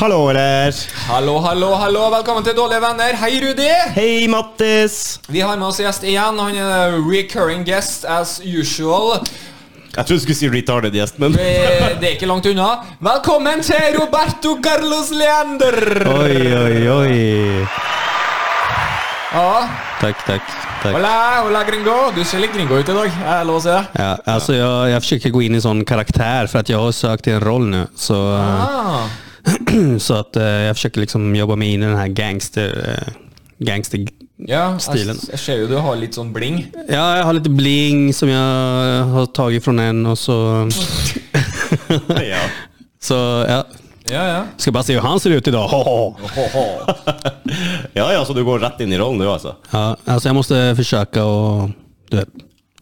Hallo der. Hallo, hallo, hallo. Velkommen til Dårlige venner. Hei, Rudi. Hei, Mattis. Vi har med oss gjest igjen. Han er recurring guest as usual. Jeg trodde du skulle si retarded gjest, men Det det er ikke langt unna. Velkommen til Roberto Carlos Leander. Oi, oi, oi. Ja. Tack, tack, tack. Hola, hola gringo. Du ser litt gringo ut i dag. Jeg lover å si det. Ja, alltså jag, jag försöker gå in i sån karaktär för att jag har sökt till en roll nu. Så, Ah. så att eh, jag försöker liksom jobba mig in i den här gangster... eh, gangster Ja, jeg, Stilen. jeg ser jo du har litt sånn bling. ja, jag har lite bling som jag har tagit från en och så... Ja. så ja. Ja, ja. Ska bara se hur han ser ut idag. Ho, ho. ja, ja, så du går rett inn i rollen, du, altså? Ja, alltså jag måste försöka och... Du vet.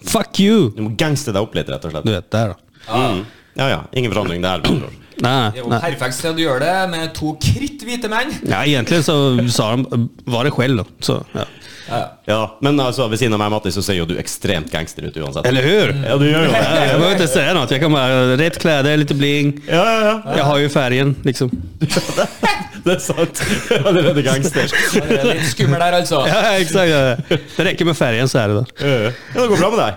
Fuck you! Du må gangste deg opp litt, rett og Du slett. vet, där då. Mm. Ja, ja. Ingen forandring der, med andre ord. Nej, Det er jo nej. perfekt sted å gjøre det, med to kritthvite menn. Ja, egentligen så sa de, var det själv då. Så, ja. Ja, men altså, ved siden av meg, Mattis, så ser jo du ekstremt gangster ut uansett. Eller hur? Ja, du gjør jo det. Jag behöver inte säga något. Jag kan bara, rätt kläder, lite bling. Ja, ja, ja. Jag har ju färgen liksom. Det er sant. Allerede gangster. Ja, Det er litt skummel der, altså. Ja, exakt. ja. Det räcker med färgen så är det. Då. Ja, det går bra med deg.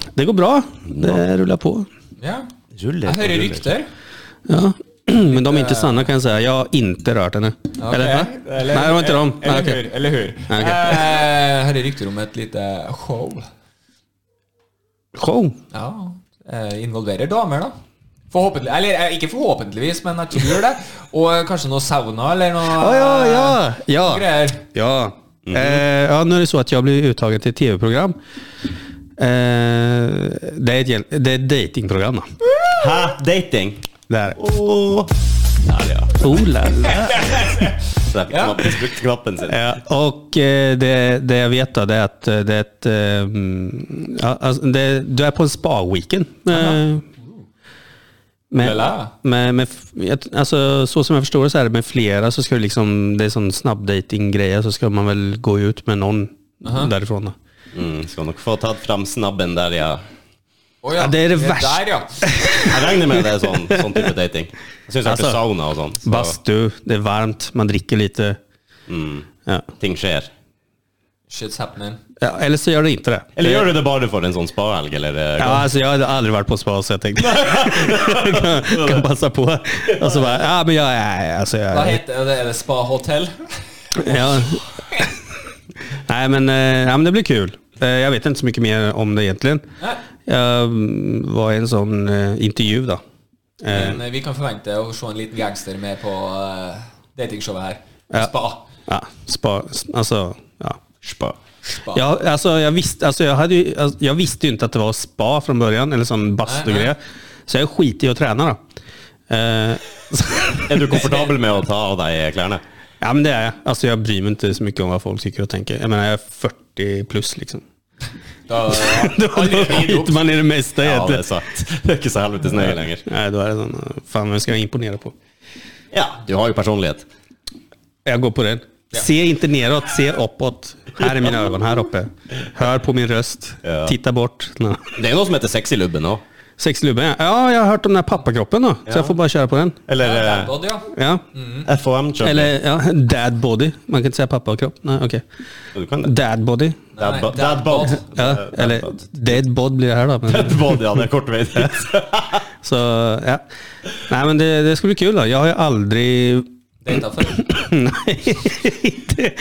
Det går bra. Det rullar på. Ja. Ruller Jeg hører rykter. Ja. Men de är inte sanna kan jag säga. Jag har inte rört henne. Eller? va? Nej, det var inte de. Eller Nej, Ah, okej. hur? Eller hur? Ja, okej. Eh, Her er rykter om et lite show. Show. Ja, eh, Involverer damer, da. Forhåpentlig, eller eh, ikke forhåpentligvis, men jeg tror det. Og eh, kanskje noe sauna eller noe Ja, ja, ja. eh, Ja. greier. Ja. Mm. Eh, ja, nu är det så att jag blir uttagen till ett tv-program. Eh, det är ett, gäll- det är ett datingprogram då. Hæ? Dating? Det är det. Åh. Herlig, ja. Oh, la, la. Så der fikk Ja. Mattis brukt knappen sin. Ja, och eh, det, det jag vet då, det är att eh, det är ett... eh, mm, ja, alltså, det, du är på en spa-weekend. Eh, Lala. Med, med, med, f- jag- alltså, så som jag förstår det så är det med flera så ska du liksom, det är sån snabb grejer så ska man väl gå ut med någon därifrån. Då. Mm, skal nok få tatt fram snabben der, ja. Å Ja, det er det verste. Der, ja. Jeg regner med det er sånn, sånn type dating. Jeg syns altså, Altså, sauna og sånn. Så Bastu, det är varmt, man dricker lite. Ja. ting skjer. Shit's happening. Ja, eller så gör det inte det. Eller gjør du det bare for en sånn spahelg, eller? eh, Ja, alltså jag hade aldrig varit på spa så jag tänkte kan, kan passa på. Och så bara, ja men jag är... Alltså, jag, Hva heter det? Er det Spa Hotel? Ja. Nej men, eh, ja, men det blir kul. Eh, Jag vet inte så mycket mer om det egentligen. Nei. Jag mm, var i en sån eh, intervju då. Eh, Men vi kan forvente å se en liten gangster med på eh, datingshowet her. Ja. Spa. Ja, spa, alltså, ja. Spa. Spa. Jag, alltså, jag, visste, alltså, jag, hade ju, alltså, jag visste ju inte att det var spa från början, eller sån bastugrej. Så jag skiter i att träna då. Eh, Er du komfortabel med å ta av deg klærne? Ja men det är jag. Alltså jag bryr mig inte så mycket om vad folk tycker och tänker. Jag menar jag är 40 plus liksom. Da, Då aldri gi opp. skiter man i det mesta Ja, det egentligen. er sant. Det er ikke så helvetes nøye lenger. Nej då är det sån, fan vem ska jag imponera på? Ja, du har jo personlighet. Jag går på den. Se inte neråt, se uppåt. Här är mina ögon, här uppe. Hör på min röst. Ja. Titta bort. Nej. Det er jo noe som heter sexylubben òg. Sexlubben ja. Ja, jag har hört om den här pappakroppen då. Så jag får bara köra på den. Eller Ja, eh, Dadbod, ja. Ja. FHM. kjøper. Eller ja, dad body. Man kan inte säga pappakropp. Nej okej. Du kan det. Dad body. Nei, Dadbod. dadbod. Ja, eller dead bod blir det här då. Men... Dadbod, ja. Det er kort vei dit. Så ja. Nej men det, det ska bli kul då. Jag har ju aldrig... Data før. Nej, inte...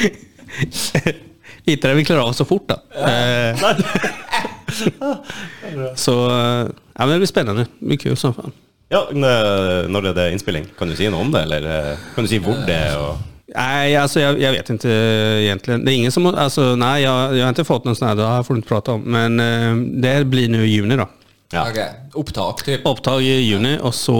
inte det vi klarar av så fort då. Eh, så eh, ja, men det blir spännande. Det blir kul som fan. Ja, men, eh, når er det innspilling? Kan du si noe om det, eller eh, kan du si hvor det er? Og Nej, alltså jag, jag vet inte egentligen. Det är ingen som... Alltså, nej, jag, jag har inte fått någon sån här, det här får du inte prata om. Men eh, det här blir nu i juni då. Ja. Ok, Opptak, typ. Opptak i juni, og så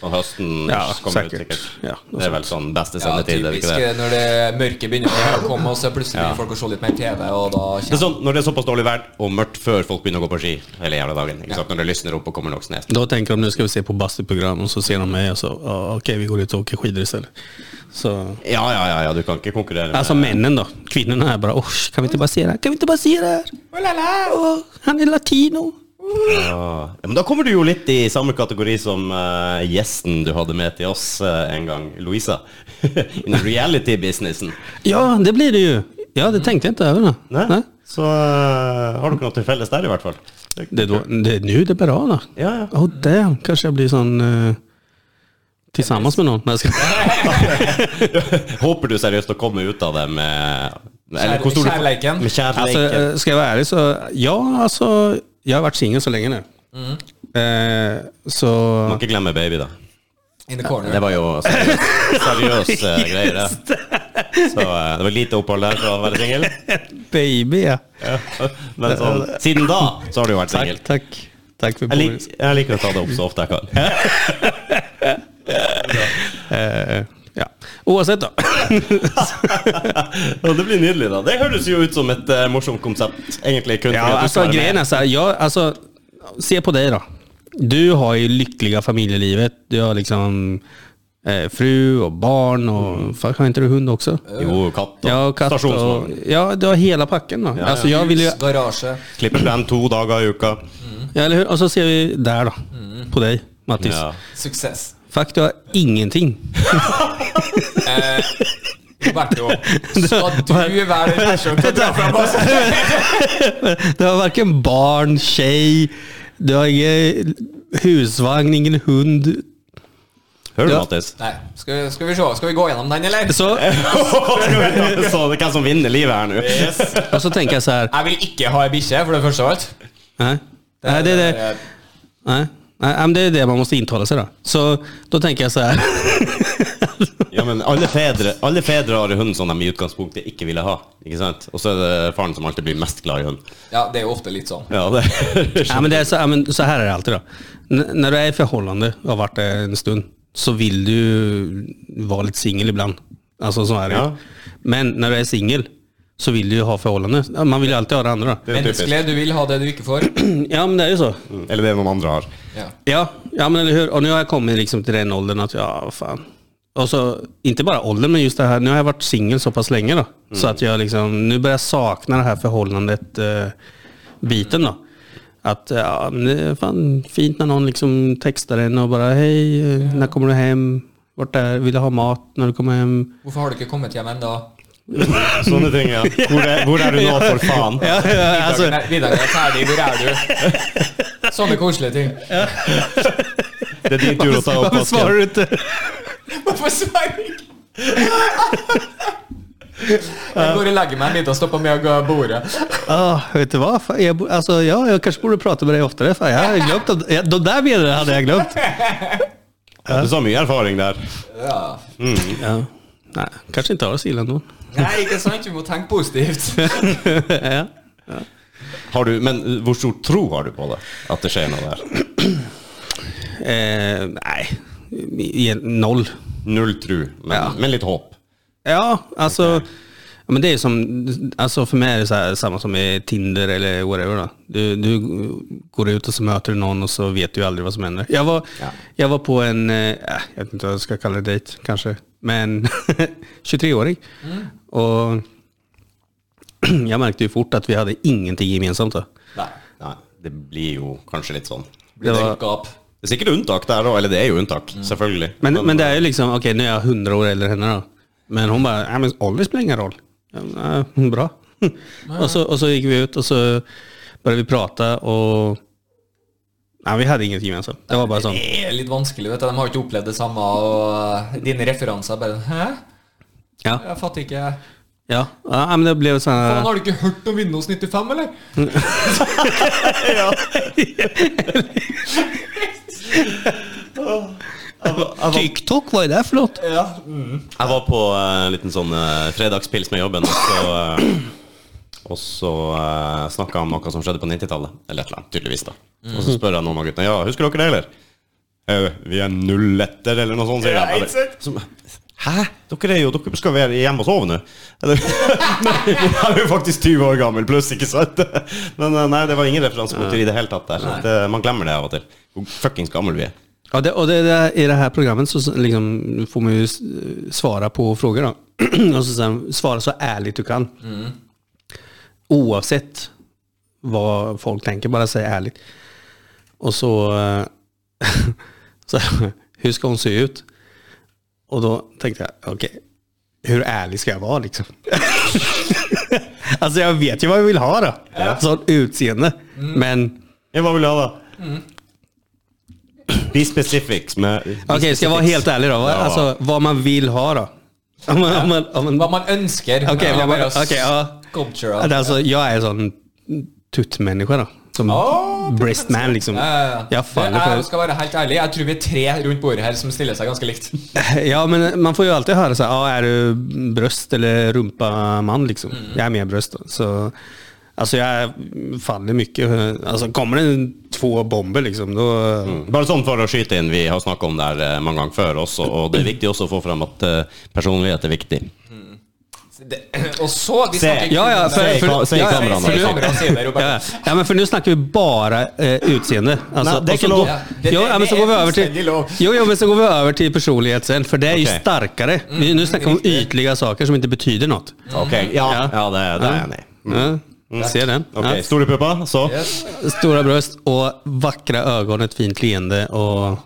Og høsten Ja, kommer ut sikkert. sikkert. Ja, noe det er vel sånn beste Ja, sendetid, er det typisk ikke det? eh, når det mørke begynner å komme, og så plutselig begynner folk å se litt mer TV, og da Det er kommer sånn, Når det er såpass dårlig vær og mørkt før folk begynner å gå på ski hele jævla dagen ikke sant? Når det lysner opp og kommer nok snø. Då tänker de nu ska vi se på bastuprogram och så ser de mig och så ja, okej vi går ut och åker skidor istället. Så, Ja, ja, ja, ja, du kan ikke konkurrere med alltså männen då, kvinnorna är bara oh, kan vi inte bara se det här? Kan vi inte bara se det här? Åh, han är latino. ja. Men da kommer du jo litt i samme kategori som eh, gjesten du hadde med til oss eh, en gang, Louisa. Innen reality-businessen. Ja, det blir det ju. Ja, det tänkte jag inte över. då. Nei? Nej. Så eh, har du ikke noe til felles der, i hvert fall. Det- Det är, då, det är nu det börjar då. Ja, ja. Oh damn, kanske jag blir sån eh, tillsammans med någon. Nej, jag skojar. Håper du seriøst å komme ut av det med Kjær- hvor stor du- kjærleiken. Med Alltså, kjærleiken. eh, ska jag vara ärlig så, ja alltså, jag har varit singel så länge nu. Eh, så... Må ikke glemme baby, da. in the corner. Det var jo seriøs, seriøs eh, greier, det. Så eh, det var lite opphold der for å være singel. Baby, ja. Men sånn, siden da så har du jo vært singel. Takk, takk. Takk for Jeg, lik, jeg liker å ta det opp så ofte jeg kan. Eh, ja. Uansett, da. Og det blir nydelig, da. Det høres jo ut som et eh, morsomt konsept, egentlig. Kun ja, fordi at du altså, skal være grejen med. er så här, jag, alltså, se på dig då. Du har ju lyckliga familjelivet. Du har liksom eh, fru och barn och fan, har inte du hund också? Jo, katt og, Mm. Ja, och katt och, stasjonsvogn. ja, du har hela packen då. alltså, jag vill ju, Hus, garasje. Klipper den to dager i uka. ja, eller hur? Och så ser vi där då, på dig Mattis. Ja. Suksess. Fuck, du har ingenting. Eh, Roberto, skal du være den første som drar fram oss? Du har varken barn, tjej, du har ingen husvagn, ingen hund. Hører du, Ja. Mattis? Nei, skal vi, skal vi se. Skal vi gå gjennom den, eller? Så, så det er hvem som vinner livet her nå? og så tenker jeg så "Äh, her Jeg vil ikke ha ei bikkje, for det første av alt. Eh, Nei, nei, det, er det, nei, nei men det er det man må inntale seg, da. Så da tenker jeg så her Ja, men alle fedre, alle fedre har en hund som de i utgangspunktet ikke ville ha. Ikke sant? Og så er det faren som alltid blir mest glad i hund. Ja, det er jo ofte litt sånn. Ja, det nei, men det er så, nei, men så her er det alltid, da. N når du er i forholdene og har vært det en stund, så vil du være litt singel iblant. Altså, sånn er det. Ja. Men når du er singel, så vil du jo ha forholdene. Ja, Man vil jo alltid ha det andre, da. Det er jo typisk. Menneskelig, du vil ha det du ikke får. Ja, men det er jo så. Mm. Eller det noen andre har. Ja. Ja, ja men eller hur. Och nu har jag kommit liksom till den åldern att, ja vad fan. Och så, inte bara åldern, men just det här, nu har jag varit singel så pass länge då. Så att jag liksom, nu börjar jag sakna det här förhållandet, eh, biten då. Att, ja, men det är fan fint när någon liksom textar en och bara, hej, eh, när kommer du hem? Vart är, vill du ha mat när du kommer hem? Hvorfor har du ikke kommet hjem ennå? Sånne ting, ja. Hvor er, hvor er du nå, for faen? Ja, ja, alltså, Middagen er middagen er ferdig, hvor er du? Sånne koselige ting. Det er din tur å ta opp varför svarar vasken. du inte? Hvorfor svarer jeg ikke? Jeg går og legger meg en liten stopp på meg og bordet. Ja, vet du vad? Fan, jag, bo- alltså, ja, jag kanske borde prata med dig oftare. Fan, jag hade glömt att, jag, de där bilderna hade jag glömt. Ja, Du sa mye erfaring der. Ja. Ja. Nei, kanskje ikke har det så ille ennå. Nei, ikke sant? Vi må tenke positivt. ja. Har du, men uh, hvor stor tro har du på det? At det skjer noe der? eh, nei, i- i- null. Null tro, men, Ja. men litt håp. Ja, altså ja, Men det er jo som alltså altså For meg er det så her, samme som i Tinder eller whatever. Da. Du, du går ut og så møter du noen, og så vet du aldri hva som hender. Jeg var, Ja. jeg var på en eh, eh, Jeg vet ikke hva jeg skal kalle det date, kanskje. Men 23-åring. Og jeg merket jo fort at vi hadde ingenting gemensamt. Da. Nei. Nei, det blir jo kanskje litt sånn. Blir det Det var- et gap? Det er sikkert unntak der òg, eller det er jo unntak, selvfølgelig. Men, men det er jo liksom, ok, nå er jeg 100 år eldre enn henne da. Men hun bare, nei, men ålder spiller ingen roll. Ja, men, eh, bra. og, så, og så gikk vi ut, og så bare vi prate, og... Nei, vi hadde ingenting gemensamt. Det var bare sånn, Det er litt vanskelig, vet du. De har ikke opplevd det samme, og eh, dine referanser bare Hæ? ja, Jeg fatter ikke. ja. ja men det ble jo sånn... Faen, har du ikke hørt om Windows 95, eller? TikTok, hva er det for noe? Ja. Jeg var på eh, en liten sånn eh, fredagspils med jobben, og så eh, Og så uh, snakka han om noe som skjedde på 90-tallet, eller et eller annet, tydeligvis. da Og så spør han noen av guttene Ja, husker dere det, eller? «Eh, Vi er nulletter, eller noe sånt, sier Ja, han. ikke sant? Som, Hæ? Dere er jo Dere skal være hjemme og sove nå? Eller, nei, jeg er jo faktisk 20 år gammel pluss, ikke sant? Men eh, nei, det var ingen referansepunkter i det hele tatt der. Så det, man glemmer det av og til. Hvor fuckings gammel vi er. Ja, det, och det, det, i det här programmet så liksom får man ju s- svara på frågor då. och så sen, svara så ärligt du kan. Oavsett vad folk tänker, bara säg ärligt. Och så, eh, så hur ska hon se ut? Och då tänkte jag, okej, hur ärlig ska jag vara liksom? alltså jag vet ju vad jag vill ha då. Sånt utseende. Men Ja, hva vil du ha, da? Mm. Be specifics med be Okej, ska jag vara specifics. helt ärlig då? Vad- Ja. Alltså, vad man vill ha då? Om man, om man, om man, Hva man ønsker. Ok, men hva man- bare ok, ja. Sculptural. alltså, jag är en sån tuttmänniska då. Som Åh, breastman liksom. Eh, Jag faller jeg för... skal være helt ærlig, jeg tror vi er tre rundt bordet her som stiller seg ganske likt. Ja, men man får ju alltid höra så här, ah, är du bröst eller rumpa man liksom? Jag är mer bröst då. Så, alltså jag faller mycket. Alltså kommer det två bomber liksom, då... Bare sånn for å skyte inn, vi har snakka om det her eh, mange ganger før også, og det er viktig også å få frem at eh, personlighet er viktig. Mm. Det- Og så vi Se. snakker ikke Ja, ja, om för, det. i ka- för, se i ja, ja, kameran, för Se i nu, alltså. kameran, se det, Robert. ja, ja, men för nu snackar vi bara eh, utseende. Alltså, Nej, det är och så inte lov. går- Ja, det- Jo, det- ja, men så det går vi är över fullständigt till, lov. jo, jo, men så går vi över till personlighet sen, för det är ju Okej. starkare. Vi, Mm, nu snackar vi om ytliga saker som inte betyder något. Ok, ja, Ja. ja det, Mm. det er jeg enig i. Ja, ser den. Ok, Ja. Store pupper, så. Yes. Stora bröst och vackra ögon, ett fint leende och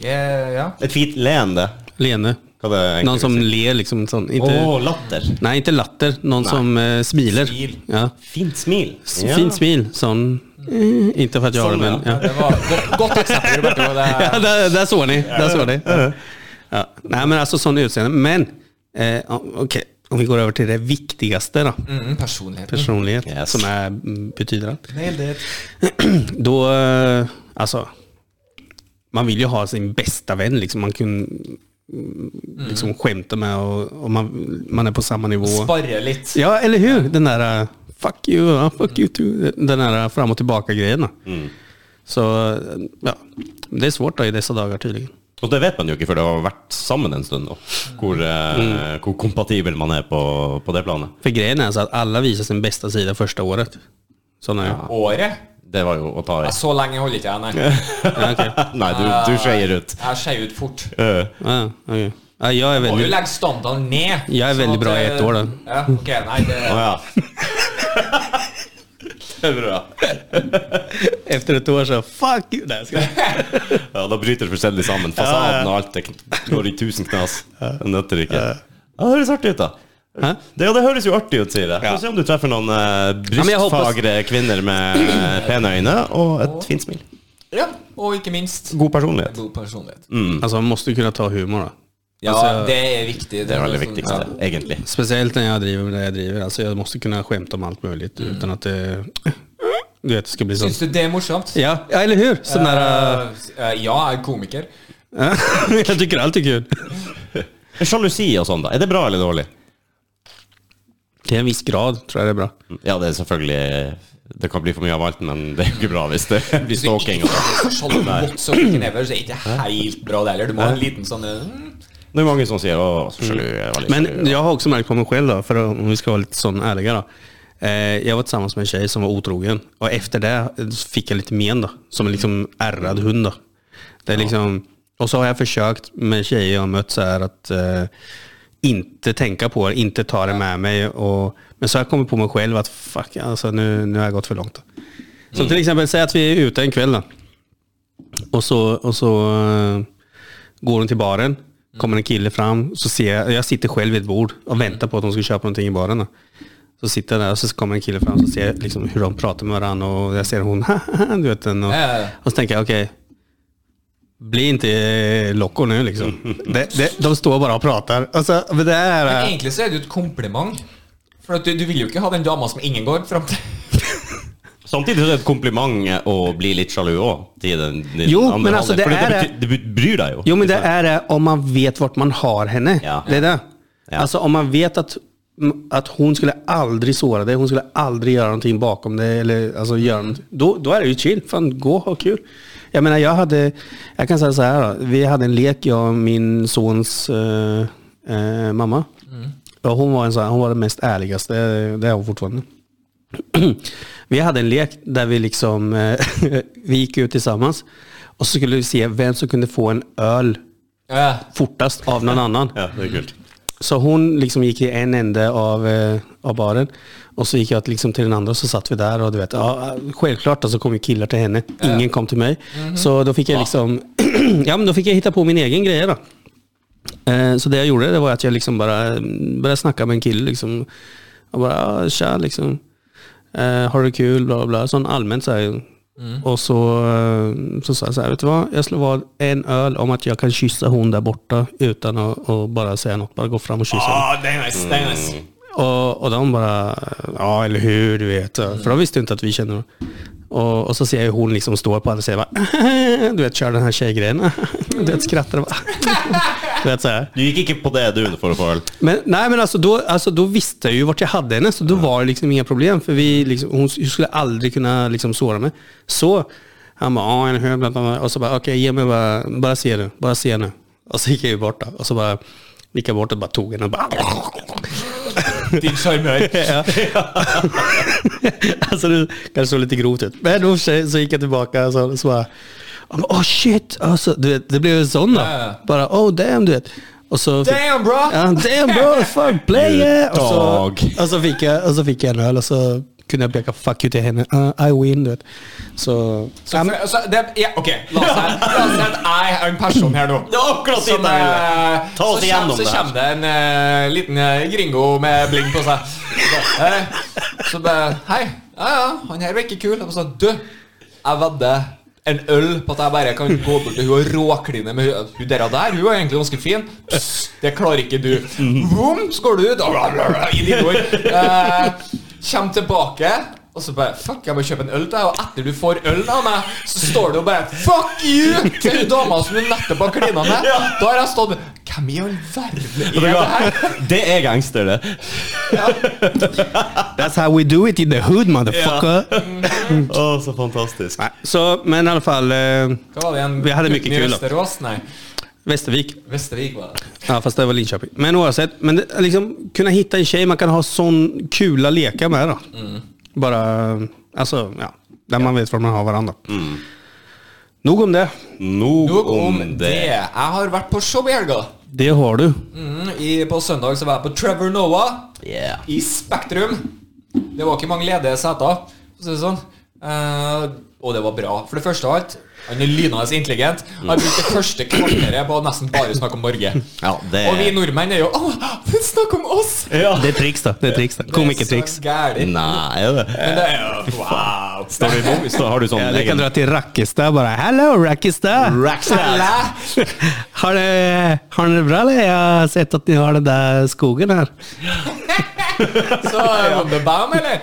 Eh, ja. Et fint leende. leende. Hva det egentlig Någon som vil si. ler liksom. Sån, Å, inte, latter. Nej, inte latter. Någon som eh, smiler. Smil. Ja. Fint smil. S- Fint smil. Sån, eh, inte för att jag har det, Sån, men... ja. Ja. Det var godt, godt eksempel, Roberto. Ja, Det, där, där såg ni. Där såg ni. Ja. Ja. Nej, men alltså sån utseende. Men, eh, ja, okej. Om vi går över till det viktigaste då. mm, personligheten. Personlighet, Yes. som är, mm, betyder allt. Nailed it. Då, eh, alltså, man vill ju ha sin bästa vän. Liksom. Man kan mm, liksom, skämta med och, och man, man är på samma nivå. Sparre litt. Ja, eller hur? Den där eh, fuck you, ja, fuck you too. Den där eh, fram och tillbaka-grejen. Så eh, ja, det är svårt då i dessa dagar tydligen. Og det vet man jo ikke før det har vært sammen en stund, nå, hvor, Mm. eh, hvor kompatibel man er på, på det planet. För grejen är så att alla visar sin bästa sida första året. Sådana är ja. Året? Det var jo å ta i. Ja, så lenge holder ikke jeg, nei. Ja, okej. Nei, du, du skeier ut. Jeg skeier ut fort. Eh, ja, okej. ja, jag är Må jo väldigt... legge standarden ned. Jeg er sånn veldig at, bra i ett eh, år, da. Ja, ok, nei, det, Å ja. Det er bra. Efter ett år så, fuck you! Nej, jag skojar. Ja, da bryter det fullstendig sammen. Fasaden og alt det går i tusen knas. Det nytter ikke. Ja, det høres artig ut, da. Hæ? Det, ja, det høres jo artig ut, sier jeg. Få se om du treffer noen eh, men jeg håper- brystfagre kvinner med eh, pene øyne og et fint smil. ja, og ikke minst God personlighet. god personlighet. Alltså man måste ju kunna ta humor då. Ja, Altså, det er viktig. Det er det aller sånn- viktigste, egentlig. Speciellt när jag driver med det jag driver. Alltså jag måste kunna skämta om allt möjligt utan att det... Du vet, det ska bli Ja. sånt. Syns du det er morsomt? Ja, ja eller hur? Sån där... Eh, eh, ja, jeg er komiker. äh, jag tycker allt är kul. Sjalusi og sånn, da. Er det bra eller dårlig? Till en viss grad tror jag det är bra. Ja, det er selvfølgelig eh, Det kan bli for mye av alt, men det er jo ikke bra hvis det blir stalking. Og sånn. Sånn whatsoever, never, så er ikke helt bra det heller. Du må ha en liten sånn eh, mm. det er mange som sier 'å, så sjalu'. jeg var litt sjalu». Men jag har också märkt på mig själv då, för om vi ska vara lite sån ärliga då. Eh, jag var tillsammans med en tjej som var otrogen och efter det eh, så fick jag lite men då, som en liksom ärrad hund då. Det är liksom, och så har jag försökt med tjejer jag har mött så här att eh, inte tänka på det, inte ta det med mig. Och, men så har jag kommit på mig själv att fuck, alltså, nu, nu har jag gått för långt. Då. Så till exempel, säg att vi är ute en kväll då. Och så, och så eh, går hon till baren. Kommer en kille fram. Så ser jag, jag sitter själv vid ett bord och väntar på att hon ska köpa någonting i baren. Då. Så sitter jag där och så kommer en kille fram så ser jag liksom hur de pratar med varandra och jag ser hon, du vet den. Och, Ja, ja, ja. och så tänker jag, okej, bli inte eh, loco nu liksom. Det, det, de står bara och pratar. Alltså, men det Men är, Egentlig så er det jo et kompliment. For at du, du vil jo ikke ha den dama som ingen går fram til. Samtidig så er det et kompliment å bli litt sjalu òg. Til den, den Jo, andre men altså, halvdelen. det er Fordi det, betyr, det bryr deg jo. Jo men det är det om man vet vart man har henne. Ja. Det är det. Ja. Alltså om man vet att m- att hon skulle aldrig såra dig, hon skulle aldrig göra någonting bakom dig. Eller, alltså, göra någonting. Då, då är det ju chill, fan gå och ha kul. Jag menar, jag hade, jag kan säga så här då. Vi hade en lek, jag och min sons eh, eh, mamma. Mm. Ja, hon, var en sån, här- hon var den mest ärligaste, det är hon fortfarande. Vi hade en lek där vi liksom eh, vi gick ut tillsammans och så skulle vi se vem som kunde få en öl Ja. fortast av någon annan. Ja, det er kult. Så hon liksom gick till en ände av, eh, av baren och så gick jag till- liksom till den andra och så satt vi där och du vet, ja, självklart då, så kom ju killar till henne. Ingen kom till mig. Så då fick jag liksom, ja men då fick jag hitta på min egen grej då. Eh, Så det jag gjorde det var att jag liksom bara eh, började snacka med en kille liksom. Jag bara, ja, tja liksom. Eh, har du kul? Bla bla, bla. Sån allmänt så här. Och så, eh, så sa jag så här, vet du vad? Jag slår vad en öl om att jag kan kyssa hon där borta utan att och bara säga något. Bara gå fram och kyssa henne. det är nice. Det är nice. Och, och de bara, ja eller hur, du vet. För de visste ju inte att vi känner dem. Och, och så ser jag hur hon liksom står på andra sidan och bara, du vet, kör den här tjejgrejen. Du vet, skrattar och bara, du vet så här. Du gikk ikke på det, du, for å få øl? Men, nej men alltså då, alltså då visste jag ju vart jag hade henne, så då var det liksom inga problem. För vi liksom, hon skulle aldrig kunna liksom såra mig. Så han bara, ja eller hur, bla, bla, bla. och så bara, okej ge mig bara, bara se nu, bara se nu. Och så gick jag ju bort då. och så bara gick jag bort och bara tog henne och bara Din charmör. Ja. alltså det kanske såg lite grovt ut. Men i och för sig så gick jag tillbaka och så, så bara, "Ja, men, oh shit, alltså, du vet, det blev en sån då. Ja, ja. Bara, oh damn, du vet. Och så fick- Damn, bro! Ja, damn bro, fuck player! Och så, Dag. och, så fick jag, och så fick jag en öl och så kunde jag peka fuck you till henne. Uh, I win, du vet. Så, Så, for, så det, ja, ok, la oss si la oss si at jeg er en person her nå. Det er akkurat Som, dit jeg ville. eh, Ta oss så igjennom kjem- det Så her. kommer det en eh, liten eh, gringo med bling på seg. Så bare, eh, Så bare Hei. Ja, ja, han her var ikke kul. Og sånn, du, jeg vedder en øl på at jeg bare kan gå bort til hun og råkline med hun. Hun der, og der, hun er egentlig ganske fin. Pss, det klarer ikke du. Vroom, så går du ut. og bla, bla, bla, Inn i går. Eh, Kjem tilbake. Og så bare Fuck, jeg må kjøpe en øl til deg. Og etter du får ølen av meg, så står du og bare Fuck you! Til hun dama som du nettopp har klina med. Ja. Da har jeg stått Hvem i all verden er det her? Det er gangster, det. that's how we do it in the hood, motherfucker! Å, så fantastisk. Nej, så, men i alla fall, eh, Hva var det igjen? Vi hadde mye Gutten kul, I da. Vesterås? Nei. Västervik. Vestervik var det. Ja, fast det var Linköping. Men oavsett, men det, liksom, kunna hitta en tjej man kan ha sån kula leka med. Då. Bara, alltså, Mm. ja, där man vet var man har varandra. Nog om det. Nog, Nok om det. Jeg har vært på show i helga. Det har du. Mm, i, på søndag så var jeg på Trevor Noah Yeah. i Spektrum. Det var ikke mange ledige seter, for å si det sånn. Eh, og det var bra. For det første av alt, han er lynende intelligent. Og jeg brukte det første kvarteret på å nesten bare snakke om Norge. Mm. Ja, det- Og vi nordmenn er jo Å, snakk om oss! Ja. Det är tricks då. Det är tricks då. Komikertricks. Det er så gærent. Nei, er det Men det er jo Wow. Står du i bom- står- Har du sånn Ja, du kan egen dra till Rackestad bara. Hello Rackestad! Rackstad! Alle Har, det- har ni det bra eller? Jag har sett att ni har den där skogen här. Så kom det bam, eller?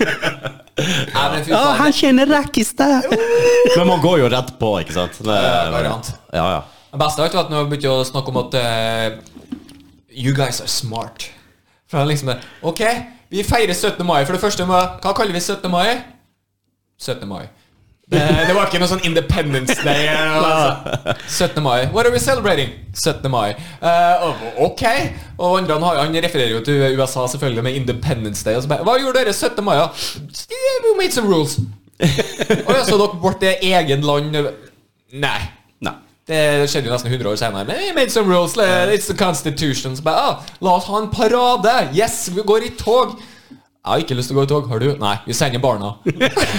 Nei, men fy Ja, faen. han känner Rackestad! Men man går jo rett på, ikke sant? Det, Ja, variant. Ja, ja. Det beste av alt var at når vi begynte å snakke om at eh, You guys are smart. For han liksom eh, Ok, vi feirer 17. mai. For det første, må, hva kaller vi 17. mai? 17. mai. Det, det var ikke noe sånn Independence Day. eh, eller noe sånt. 17. mai. What are we celebrating? 17. mai. Eh, og- ok. Og andre han, har- han refererer jo til USA selvfølgelig med Independence Day. Og så bare, Hva gjorde dere 17. mai? da? We made some rules. Og ja, så dere vårt egen land Nei. Nei. Det skjedde jo nesten 100 år senere. Men we made some rules, eh, it's the constitution. Så bare, ah, la oss ha en parade! Yes, vi går i tog! Jeg har ikke lyst til å gå i tog. Har du? Nei, vi sender barna. liksom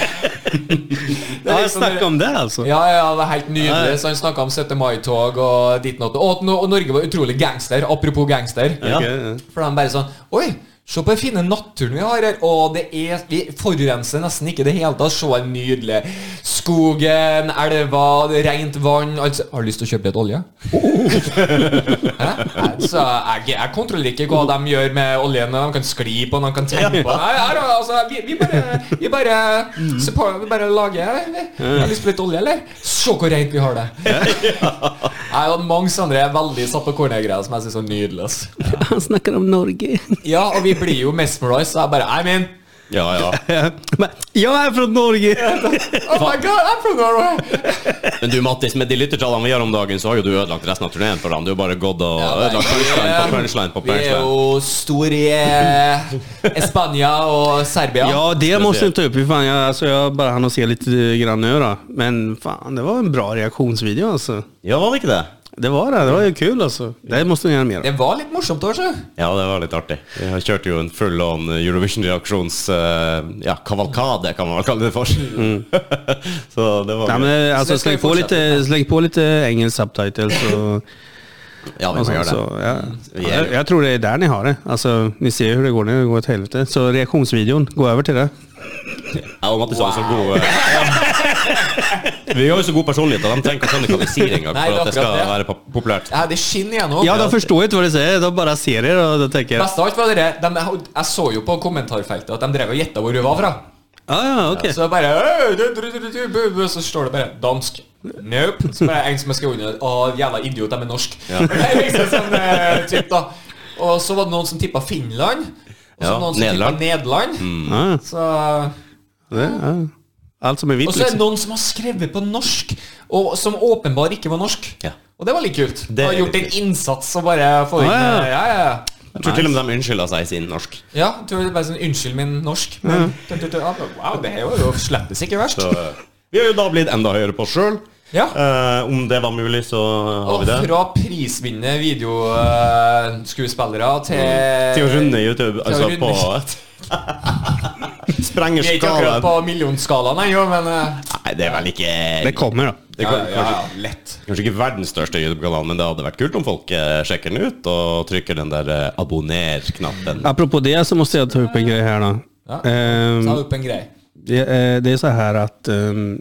Ja, jag snackar om det alltså. Ja, ja, det var helt nydelig. Så han snakka om 17. mai-tog og ditt og datt. Og at no- og Norge var utrolig gangster. Apropos gangster. Ja. Okej, ja. For de bare sånn Oi, Se på den fine naturen vi har her. Og det er, vi forurenser nesten ikke i det hele tatt. Se den nydelige skogen, elver, rent vann altså, Har du lyst til å kjøpe litt olje? Hæ? altså, jeg, jeg kontrollerer ikke hva de gjør med oljen. De kan skli på den, de kan tenne på den. Nei, her, altså, vi, vi bare, vi bare, suppo- vi bare lager vi. Har du lyst på litt olje, eller? Se hvor rent vi har det. Jeg og mange andre er veldig satt på corner-greier som jeg syns er nydelig. ass. Han snakker om Norge. Ja, og vi blir jo mesmerized. Så jeg bare I mean Ja, ja. Men, jeg er fra Norge! Oh my god, I'm from Norway! Men du, Mattis, med de lyttertallene vi har om dagen, så har jo du ødelagt resten av turneen for dem. Du har bare gått og Ja, nei, ødelagt punchline på punchline på Vi er punchline. jo stor i eh, Spania og Serbia. Ja, det måste ser. ni ta upp. Fy Fan, jag, alltså, jag bara hann och se lite eh, grann nu då. Men fan, det var en bra reaktionsvideo alltså. Ja, var det ikke det? Det var det. Det var ju kul alltså. Det måste ni göra mer av. Det var litt morsomt også. Ja, det var litt artig. Vi kjørte jo en full on Eurovision-reaksjons... eh, ja, kavalkade, kan man vel kalle det for. Mm. så det var Nej, gøy. men, Så alltså, det ska vi släng, på fortsätta. lite, släng på lite engelsk subtitles och, Ja, vi och må sånt. gjøre det. Så, ja. Vi är- jag, jag tror det är där ni har det. Alltså, ni ser hur det går nu. Det går åt helvete. Så reaktionsvideon, gå över till det. Jeg og Mattis har jo så god eh, Vi har jo så god personlighet, og de trenger ikke å skjønne hva vi sier engang Nei, for at det skal akkurat det. være pop- populært. Ja, det skinner igjennom. Ja, de förstår ju inte vad du säger. De bara ser er och de tänker ja, Best av alt var dere, de, Jeg så jo på kommentarfeltet at de drev og gjetta hvor du var fra. ja, okej. Så bare «Øy, du, du, du, du, du, bu, bu», Så står det bare 'dansk'. Nope. Så bare en som er skrevet under 'Å, jævla idiot, de er norsk'. Det er liksom sånn eh, typ da Og så var det noen som tippa Finland. Og så Ja, noen som tippa Nederland. Nederland. Mm. Ja, Så det, ja. Allt som är Og vitt så er det liksom. noen som har skrevet på norsk, og som åpenbart ikke var norsk. Ja. Og det var litt kult. er Det har gjort litt en innsats og bare få inn Ah, eh, Ja, ja, ja. Jeg tror til og med de unnskylder seg i sin norsk. Ja, jeg tror det er bare sånn Unnskyld min norsk, men ja. Wow, det her var jo slettes ikke verst. Mm. Så, eh, vi har jo da blitt enda høyere på oss sjøl. Ja. Eh, om det var mulig, så har Og vi det. fra prisvinnende eh, videoskuespillere til Til å runde YouTube, altså runde. alltså, på Sprenger Vi er ikke akkurat skalaen. på millionskalaen ennå, men eh, Nei, det er vel ikke Det kommer då. det ja, kan, ja, kanskje, ja, lett. kanskje ikke verdens største YouTube-kanal, men det hadde vært kult om folk eh, sjekker den ut og trykker den der eh, abonner-knappen. Apropå det så måste jag ta upp en grej här då. Ja. Ehm, Mm. Ta opp en greie. Det, eh, det är så här att ehm,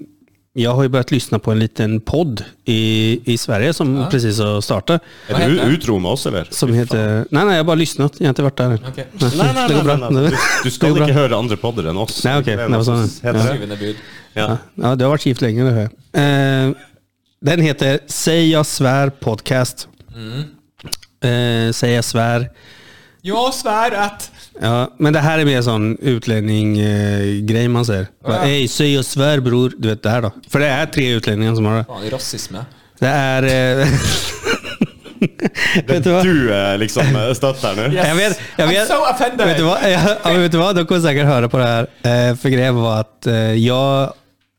jag har ju börjat lyssna på en liten podd i, i Sverige som precis har startat. Er du u- utro med oss, eller? Som heter... Nej, nej, jag har bara lyssnat. Jag har inte varit där än. Ok. Nei, nei, det går bra. Du, du Det skal går bra. ikke høre andre podder enn oss. Nei, ok, Det er det noe var sånn. som Heter det. Syvende bud. Ja. Ja, du har varit gift länge, det hör jag. Eh, den heter Säg jag svär podcast. Mm. Eh, Säg jag svär. Ja, svär at Ja, men det här är mer sån utlänning-grej man säger. Bara, Ja. Ey, säg jag svär bror. Du vet det här då. För det är tre utlänningar som har det. Faen, rasisme. Det är... Eh, vet du vad? Du er liksom eh, støtt her nå. Yes. Jag vet, jag typ- I'm vet, so offended. vet du vad? Ja, ja, men vet du vad? De kommer säkert höra på det här. Eh, för grejen var att eh, jag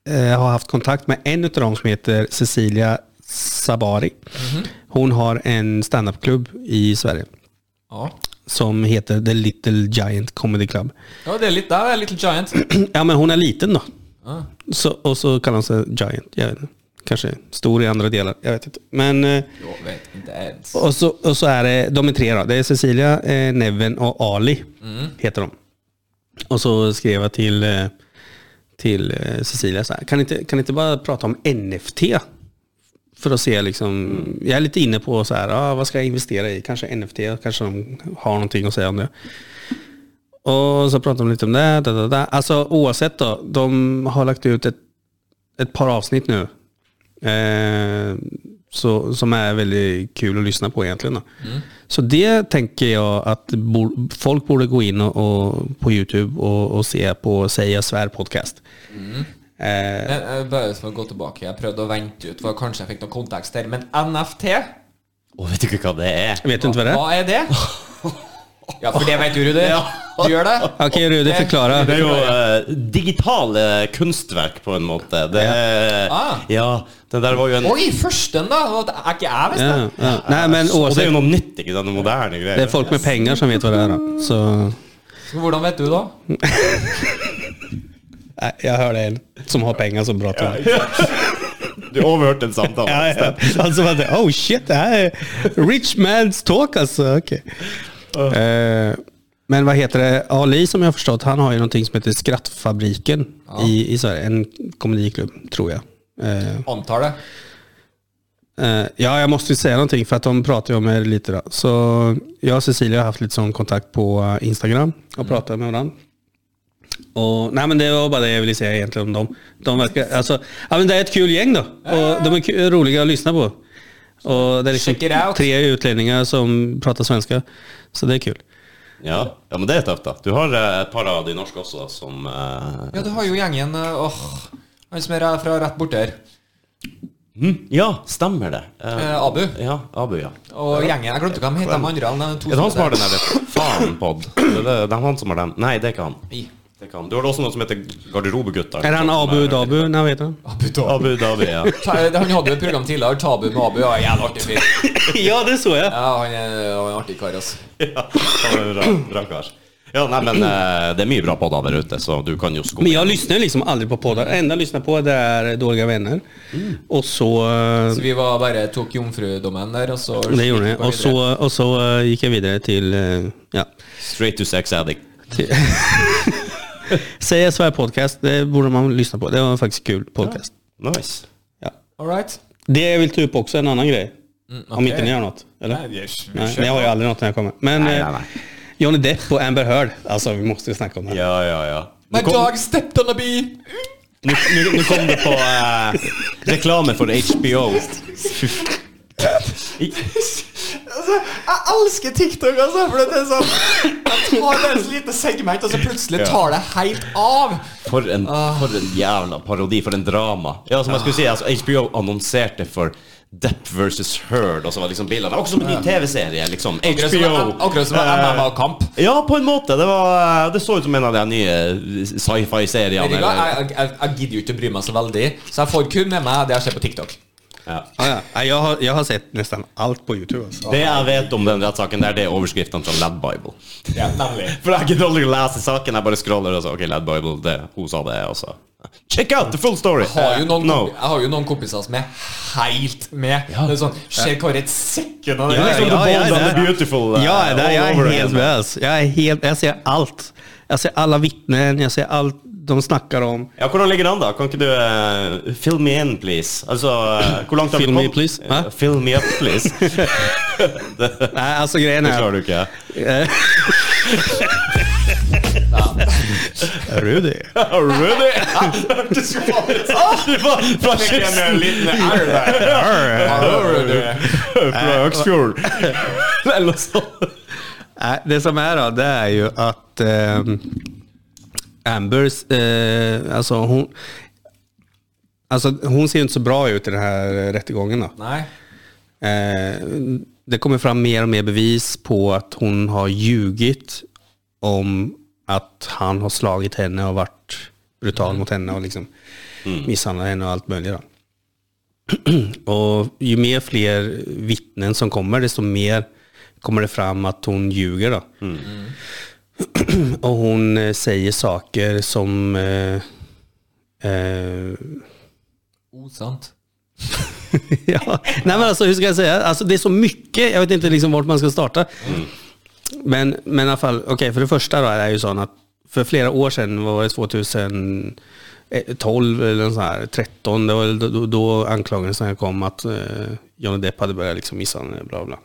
eh, har haft kontakt med en av dem som heter Cecilia Sabari. Mhm. Hon har en standupklubb i Sverige Ja. som heter The Little Giant Comedy Club. ja, det er litt der. Little Giant. Ja, men hon är liten då. Ah. Så, och så kallar hon sig Giant. Jag vet inte. Kanske stor i andra delar. Jag vet inte. Men... Eh, Jag vet inte ens. Och så, och så är det, de är tre då. Det är Cecilia, eh, Neven och Ali heter de. Och så skrev jag till, eh, till eh, Cecilia så här, kan inte, kan inte bara prata om NFT? För att se liksom, jag är lite inne på så här, ah, vad ska jag investera i? Kanske NFT, kanske de har någonting att säga om det. Och så pratade de lite om det. Da, da, da. Alltså oavsett då, de har lagt ut ett, ett par avsnitt nu. Eh, så, som är väldigt kul att lyssna på egentligen. Då. Mm. Så det tänker jag att bo, folk borde gå in och, och, på YouTube och, och se på Säga Svär podcast. Mm. Eh, Men, eh, Bare for å gå tilbake, jeg prøvde å vente ut, for kanskje jeg fikk noe kontekst her. Men NFT, Å, vet du ikke hva det er? jag vet inte vad det är. hva er det? Ja, for det vet du, Rudi. Du gjør det? Okej Rudi, förklara. Det er jo eh, digitale kunstverk, på en måte. Det er, Ah. Ja, det der var jo en Oi, førsten, da! og det Er ikke jeg visst det? Ja, ja. Nej, men Og det er oavsett, jo noe nytt, liksom, ikke sant? Noe moderne det är greier. folk med pengar som vet vad det är. Då. Så Så Hvordan vet du da? Nej, eh, jag hörde en som har pengar som pratar om det. Du overhørte en samtale. Ja, ja. Han som hade, oh shit, det här är rich man's talk alltså. Okej. alltså. Eh, Men vad heter det? Ali som jag har förstått, han har ju någonting som heter Skrattfabriken i, i Sverige. En komediklubb, tror jeg. Eh, Antar det. Eh, ja, jag måste ju säga någonting för att de pratar ju om er lite. Då. Så jag och Cecilia har haft lite sån kontakt på eh, Instagram Mm. och pratat med varandra. Och, nej men det var bara det jag ville säga egentligen om dem. De verkar, alltså, ja, men det är ett kul gäng då. Och de är ku- roliga att lyssna på. Och det är liksom Check it out. tre utlänningar som pratar svenska. Så det är kul. Ja. ja, men det er tøft, da. Du har eh, et par av de norske også, da, som eh, Ja, du har jo gjengen eh, Åh, han som er fra rett borte her. Ja, stemmer det. Eh, Eh, Abu. ja, Abu, ja. Og gjengen Jeg glemte hva de heter, de andre. De to Er det han som har der. den der faen-pod? Det er det- det er han som har den. Nei, det er ikke han. I. Det er ikke han. Du har også noe som heter Garderobegutta. Är han Abu Dabu? Nej, vad heter han? Abu Dhabi. Abu Dhabi, ja. Ta- Han hadde jo et program tidligere, Tabu med Abu. Ja, jævla artig fyr. ja, det såg jag. Ja, han er han er en artig kar, altså. Ja, han er en bra, bra kar. Ja, nei, men eh, det er mye bra på der ute, så du kan jo sko... Men jag lyssnar ju liksom aldrig på poddar. Det enda jag lyssnar på det är Dåliga Vänner. Mm. Och så... eh, Så vi var bare tok jomfrudommen der, og så Det gjorde jeg. Og så, og så eh, gikk jeg videre til eh, ja. Straight to sex addict. CSVR podcast, det borde man lyssna på. Det var faktiskt kul podcast. Nice. Ja. All right. Det jag vill ta upp också är en annan grej. Om inte ni har något? Eller? Nei, vi er sju- Nej, ni har ju aldrig något när jag kommer. Men Nej, nej, eh, nej. Johnny Depp och Amber Heard, alltså vi måste ju snacka om det här. Ja, ja, ja. My Nå kom, dog stepped on a bee! nå, nå, nå kom det på eh, reklame for HBO. Altså, jeg elsker Alltså, TikTok, altså, for det er sånn Jeg tar deres lite segment, og så plutselig Ja. tar det helt av. For en, for en jævla parodi, for en drama. Ja, som jeg skulle alltså, si, altså, HBO annonserte for Depp versus Heard, og så var liksom bildene Det var ikke som en ny TV-serie, liksom. Akkurat som- HBO. Akkurat som eh, MMA-kamp. Ja, på en måte. Det, var, eh, det så ut som en av de nye sci-fi-seriene. Jeg, eller- jeg, jeg, jeg gidder jo ikke å bry meg så veldig, så jeg får kun med meg det jeg ser på TikTok. Ja. Ah, ja. Nej, Jag, har, jeg har sett nästan allt på Youtube. Alltså. Det jeg vet om den rettssaken, det er det overskriften fra Lad Bible. Ja, nemlig. For jeg gidder aldri å lese saken. Jeg bare scroller og så Ok, Lad Bible, det, hun sa det, og så Check out the full story! Har jo noen, no. kompi- Jeg har jo noen kompiser som er helt med. Det er sånn Ser hva et sekund av det Ja, er ja, liksom- ja. The Bold jag and är the där. Beautiful, eh, Ja, jag är där. all jag over är helt again. med. alltså. Jag, är helt, jag ser allt. Jag ser alla vittnen, jag ser allt de snackar om. Ja, Hvordan ligger det an, da? Kan ikke du eh, Fill me in, please. Altså, eh, hvor langt har Fill du me, kommet? please? Äh? Hæ? Eh, Fill me up, please. Nej, alltså grejen Det är... klarer du ikke. Är du det? Rudy! Hørtes jo faen ut som du Ah, var fra kysten! Fra Äh, Øksfjord. Eller noe sånt. Nej, det som är då, det är ju att ehm, Ambers, eh, alltså hon... Alltså hon ser ju inte så bra ut i den här eh, rättegången då. Nei. Eh, det kommer fram mer och mer bevis på att hon har ljugit om att han har slagit henne och varit brutal mot henne och liksom misshandlat henne och allt möjligt. Då. Och ju mer fler vittnen som kommer, desto mer kommer det fram att hon ljuger. Då. Och hon eh, säger saker som... Eh, eh, Osant. ja. Nej men alltså hur ska jag säga? Alltså det är så mycket, jag vet inte liksom vart man ska starta. Men, men i alla fall, okej för det första då är det ju sån att för flera år sedan, vad var det 2012 eller något sånt här, 13, det var, väl då, då- då anklagelserna kom att eh, Johnny Depp hade börjat liksom misshandla henne, bla bla.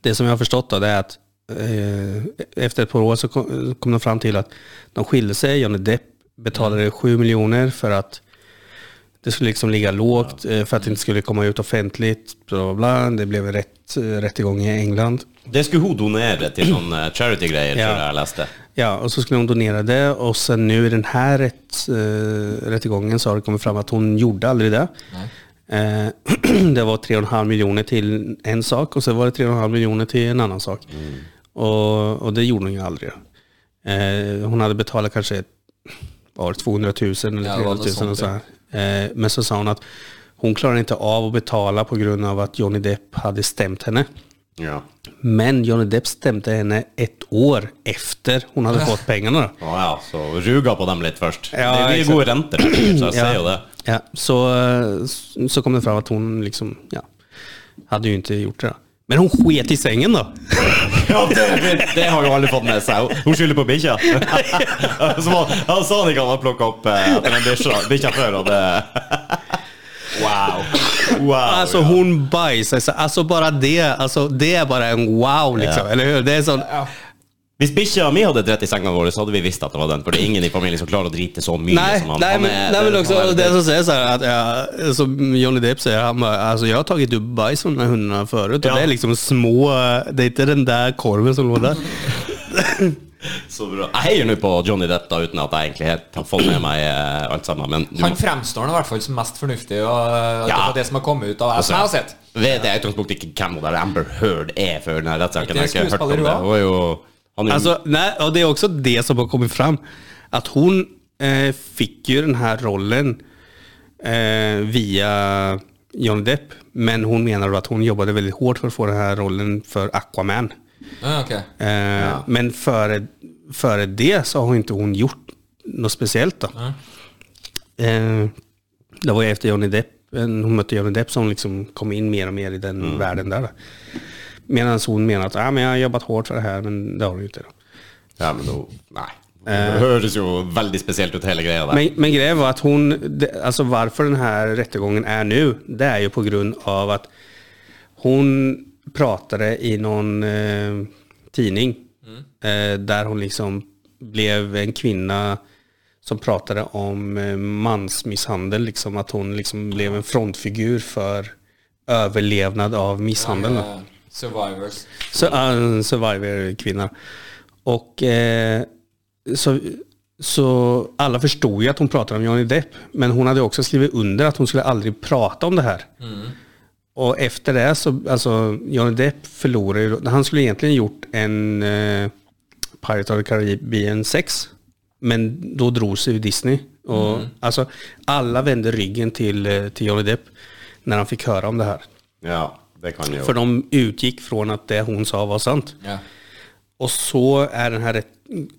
Det som jag har förstått då, det är att eh, efter ett par år så kom, kom de fram till att de skilde sig, Johnny Depp betalade 7 miljoner för att det skulle liksom ligga lågt eh, för att det inte skulle komma ut offentligt. Bla bla bla. Det blev en rätt, eh, rättegång i England. Det skulle hun donere til sånn eh, charity-greier, Ja. tror jeg jeg leste. Ja, och så skulle hon donera det och sen nu i den här rätt, eh, rättegången så har det kommit fram att hon gjorde aldrig det. Eh, det var 3,5 miljoner till en sak och sen var det 3,5 miljoner till en annan sak. Mm. Och, och det gjorde hon ju aldrig. Eh, hon hade betalat kanske vad var det 200 000 eller 300 Ja, det var 000 något och sånt, så här. Eh, men så sa hon att hon klarar inte av att betala på grund av att Johnny Depp hade stämt henne. Ja. Men Johnny Depp stämde henne ett år efter hon Ah. hade fått pengarna. Då. Å ja, så ruga på dem litt først. Ja, det er mye exakt. gode renter, så jeg ser jo det. Ja, så, eh, så kom det fram att hon liksom, ja, hade ju inte gjort det. då. Men hon sket i sängen då. Ja, det, det har jo alle fått med seg. Hun skylder på bikkja. Som han, han sa han ikke han hadde plukka opp eh, etter den bikkja- bikkja før. Og det Wow. eh. wow Alltså ja. hon bajsade sig. Alltså bara det. Alltså det är bara en wow liksom. Ja. Eller hur? Det är sån... Hvis bikkja mi hadde dritt i senga vår, så hadde vi visst at det var den. For det er ingen i familien som klarer å drite så mye Nej, som han. nej, han men, er- nej men också han er- det som säger så här att jag, som Johnny Depp säger, han bara, alltså jag har tagit upp bajs från de här hundarna förut och Ja. det är liksom små, det är inte den där korven som låg där. Så bra. Jeg heier nå på Johnny Depp, da, uten at jeg egentlig helt har fått med meg eh, alt sammen. Men du Han må, fremstår nå i hvert fall som mest fornuftig, og eh, Ja. det, er det som har kommet ut av som jeg har sett. vet jeg i utgangspunktet ikke hvem hun der Amber Heard er før den her rettssaken. Jeg har ikke hørt om skuespiller hun det. er. Hun er jo han er jo- Alltså, nej, och det är också det som har kommit fram. Att hon eh, fick ju den här rollen eh, via Johnny Depp. Men hon menar då att hon jobbade väldigt hårt för att få den här rollen för Aquaman. Ja, ok. Eh, Men före, före det så har hon inte hon gjort något speciellt. Då. Eh, det var ju efter Johnny Depp, eh, hon mötte Johnny Depp som liksom kom in mer och mer i den världen där. Då. Medan hon menar att ah, men jag har jobbat hårt för det här, men det har hon ju inte. Då. Ja, men hun Nei. Det høres jo veldig spesielt ut, hele greia der. Eh. Men, men grejen var att hon, det, alltså varför den här rättegången är nu, det är ju på grund av att hon pratade i någon eh, tidning eh, där hon liksom blev en kvinna som pratade om eh, mansmisshandel, liksom att hon liksom blev en frontfigur för överlevnad av misshandel. Eh, Survivors. Så, uh, Survivor-kvinna. Och eh, så, så alla förstod ju att hon pratade om Johnny Depp. Men hon hade också skrivit under att hon skulle aldrig prata om det här. Och efter det så, alltså Johnny Depp förlorade ju, han skulle egentligen gjort en eh, Pirate of the Caribbean 6. Men då drog sig ju Disney. Och, alltså, alla vände ryggen till, eh, till Johnny Depp när han fick höra om det här. Ja, det kan jo För de utgick från att det hon sa var sant. Ja. Och så är den här rätt,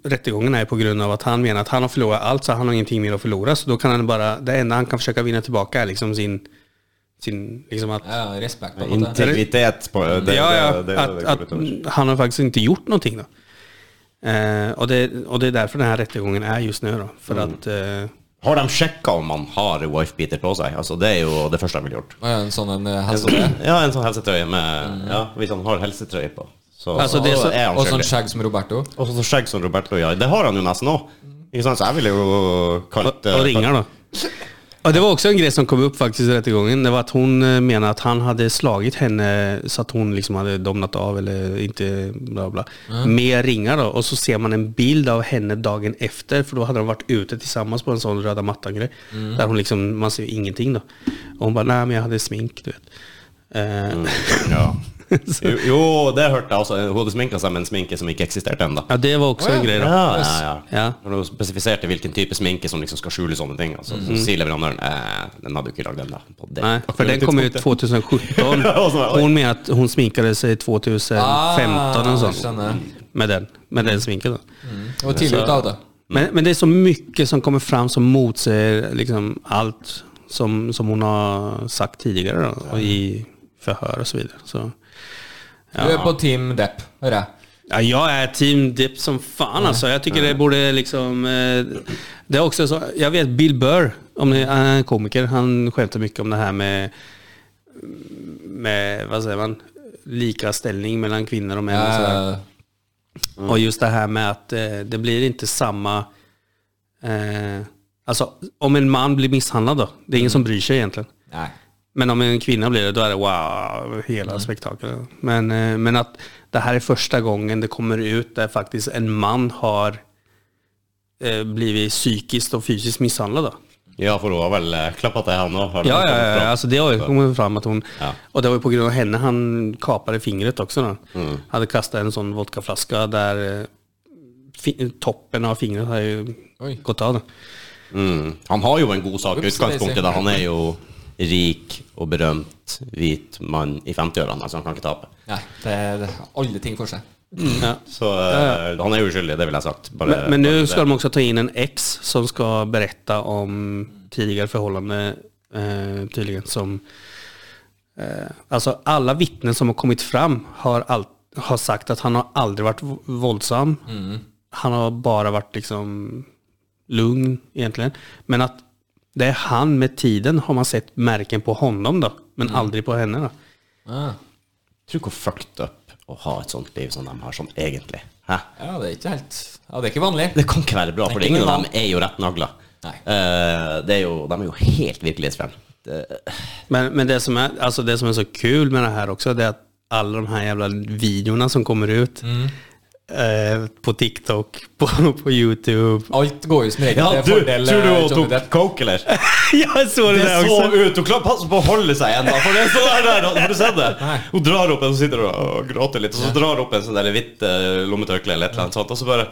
rättegången är på grund av att han menar att han har förlorat allt så han har ingenting mer att förlora. Så då kan han bara, det enda han kan försöka vinna tillbaka är liksom sin, sin liksom att, ja, respekt på en måte. Integritet på det, det, ja, ja, det, det, att, det, att han har faktiskt inte gjort någonting då. Eh, och, det, och det är därför den här rättegången är just nu då. För Mm. att, eh, Har de sjekka om han har wifebeater på seg? Altså, det er jo det første jeg ville gjort. Og en sånn en eh, Alltså, hestete. Ja, en sånn helsetrøye med Ja, hvis han har helsetrøye på, Altså, så, Mm. Alltså, det er så- er han Og sånn skyldig. skjegg som Roberto. Og så skjegg som Roberto ja. Det har han jo nesten òg. Ikke sant? Så jeg ville jo kalt och, och ringar då. Och det var också en grej som kom upp faktiskt i rättegången. Det var att hon eh, menade att han hade slagit henne så att hon liksom hade domnat av eller inte bla bla. Med ringar då. Och så ser man en bild av henne dagen efter. För då hade de varit ute tillsammans på en sån röda mattan grej. Där hon liksom, man ser ju ingenting då. Och hon bara, nej men jag hade smink du vet. Eh, Ja. Jo, jo, det hørte jeg også. Hun hadde sminka seg med en sminke som ikke eksisterte ennå. Ja det var också Oh, ja. en grej Ja, då. ja, ja. Ja. Når hun spesifiserte hvilken type sminke som liksom skal skjule sånne ting, altså, så sier leverandøren eh, den hadde du ikke lagd ennå. på det Mm. Nej, för aktuelle den kom ut tidspunktet." 2017. Och så bara, oj. Hon menar att hon sminkade sig 2015 och jeg sånt. skjønner. Med den, med den sminken. Då. Det var tidlig ute Mm. av det. Men, men det är så mycket som kommer fram som motsäger liksom allt som, som hon har sagt tidigare då, och i förhör och så vidare. Så, Du er på Team Depp, hører jeg. ja, jag är team Dipp som fan alltså. Jag tycker det borde liksom... eh, Det är också så, jag vet Bill Burr, om ni, han är en komiker, han skämtar mycket om det här med, med vad säger man, lika ställning mellan kvinnor og män. och sådär. Eh, Och just det här med att eh, det blir inte samma... Eh, alltså om en man blir misshandlad då, det är ingen som bryr sig egentligen. Nei. Men om en kvinna blir det, då är det wow, hela spektaklet. Men, eh, men att det här är första gången det kommer ut där faktiskt en man har eh, blivit psykiskt och fysiskt misshandlad. Då. Ja, for hun har vel eh, klappa til, han òg. Ja, ja, ja, alltså det har ju kommit fram att hon, Ja. och det var ju på grund av henne han kapade fingret också. Då. Hade kastat en sån vodkaflaska där eh, fi- toppen av fingret har ju Oi. gått av. Då. Mm. Han har jo en god sak i Ups, utgangspunktet. Daisy. Da. Han er jo rik og berømt hvit mann i 50-årene, så han kan ikke tape. Nei, det er alle ting for seg. Ja. Så eh, han er uskyldig, det ville jeg sagt. Bare- Men, men bare nu Eh, det. ska de också ta in en ex som ska berätta om tidigare förhållande eh, tydligen som Eh, alltså alla vittnen som har kommit fram har, all, har sagt att han har aldrig varit v- våldsam. Han har bara varit liksom lugn egentligen. Men att det är han med tiden har man sett märken på honom då, men aldrig på henne. Då. Ah. Tror hvor fucked up å ha et sånt liv som de har sånn egentlig. Hæ? Ja, det er ikke helt Ja, det er ikke vanlig. Det kan ikke være bra, for Det er ingen ikke av dem er jo rett nagla. Nei. Eh, det er jo, de er jo helt virkelighetsfjerne. Det- Men, men det, som är, alltså det som är så kul med det här också, det är att alla de här jävla videorna som kommer ut eh, på TikTok, på, på YouTube. Alt går jo som regel Ja, til du, fordel tror du eh, hun Johnny tok Depp. coke, eller? Jag såg det, Det där så också. ut! Hun klarer passe på å holde seg ennå, for det er sånn der, der, har du sett det? Nei. Hun drar opp en, så sitter hun og gråter litt, og så drar hun opp en sånn der hvitt eh, lommetørkle eller et eller annet sånt, og så bare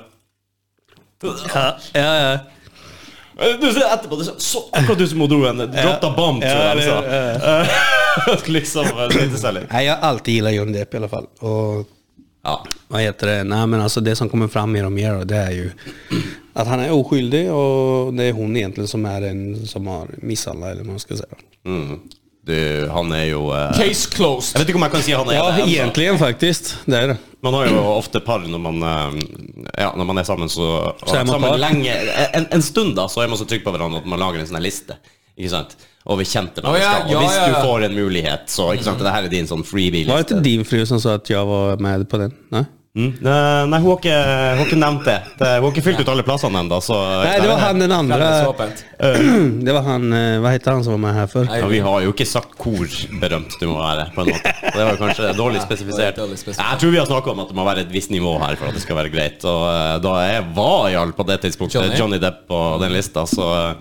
Ja, ja, ja. Eh, Du ser etterpå, det er så- så akkurat du som hun dro en dropped a bomb, tror Ja, jeg de sa. det- Eh, liksom eh, drite seg litt. Nej, jag har alltid gillat Johnny Depp i alla fall. Och Ja. vad heter det? Nej, men alltså det som kommer fram mer och mer då, det är ju att han är oskyldig och det är hon egentligen som är den som har misshandlat eller vad man ska säga. Mm. Du, han er jo eh, Case closed. Jeg vet ikke om jeg kan si han er Ja, det ennå. egentligen faktiskt. Det är det. Man har jo ofte par når man, eh, ja, når man er sammen, så, Så er man sammen par. lenge, en, en stund da, så er man så trygg på hverandre at man lager en sånn her liste. Ikke sant? Over kjente mennesker. ja, ja, og hvis ja, ja. du får en mulighet, så ikke sant? Det her er din sånn Mm. Var det freebie-liste. inte din fru som sa att jag var med på den? Nej? Mm. Eh, Nei, hun har ikke, hun har ikke nevnt det. det. Hun har ikke fylt ut alle plassene ennå, så Nej, det var han den andra. Fremdeles åpent. Det var han, eh, vad hette han som var med här för? Ja, vi har jo ikke sagt hvor berømt du må være, på en måte. Og Det var kanskje dårlig spesifisert. dårlig spesifisert. Jeg tror vi har snakka om at det må være et visst nivå her for at det skal være greit. Og eh, da jeg var i alle på det tidspunktet Johnny? Johnny, Depp på den lista, så eh,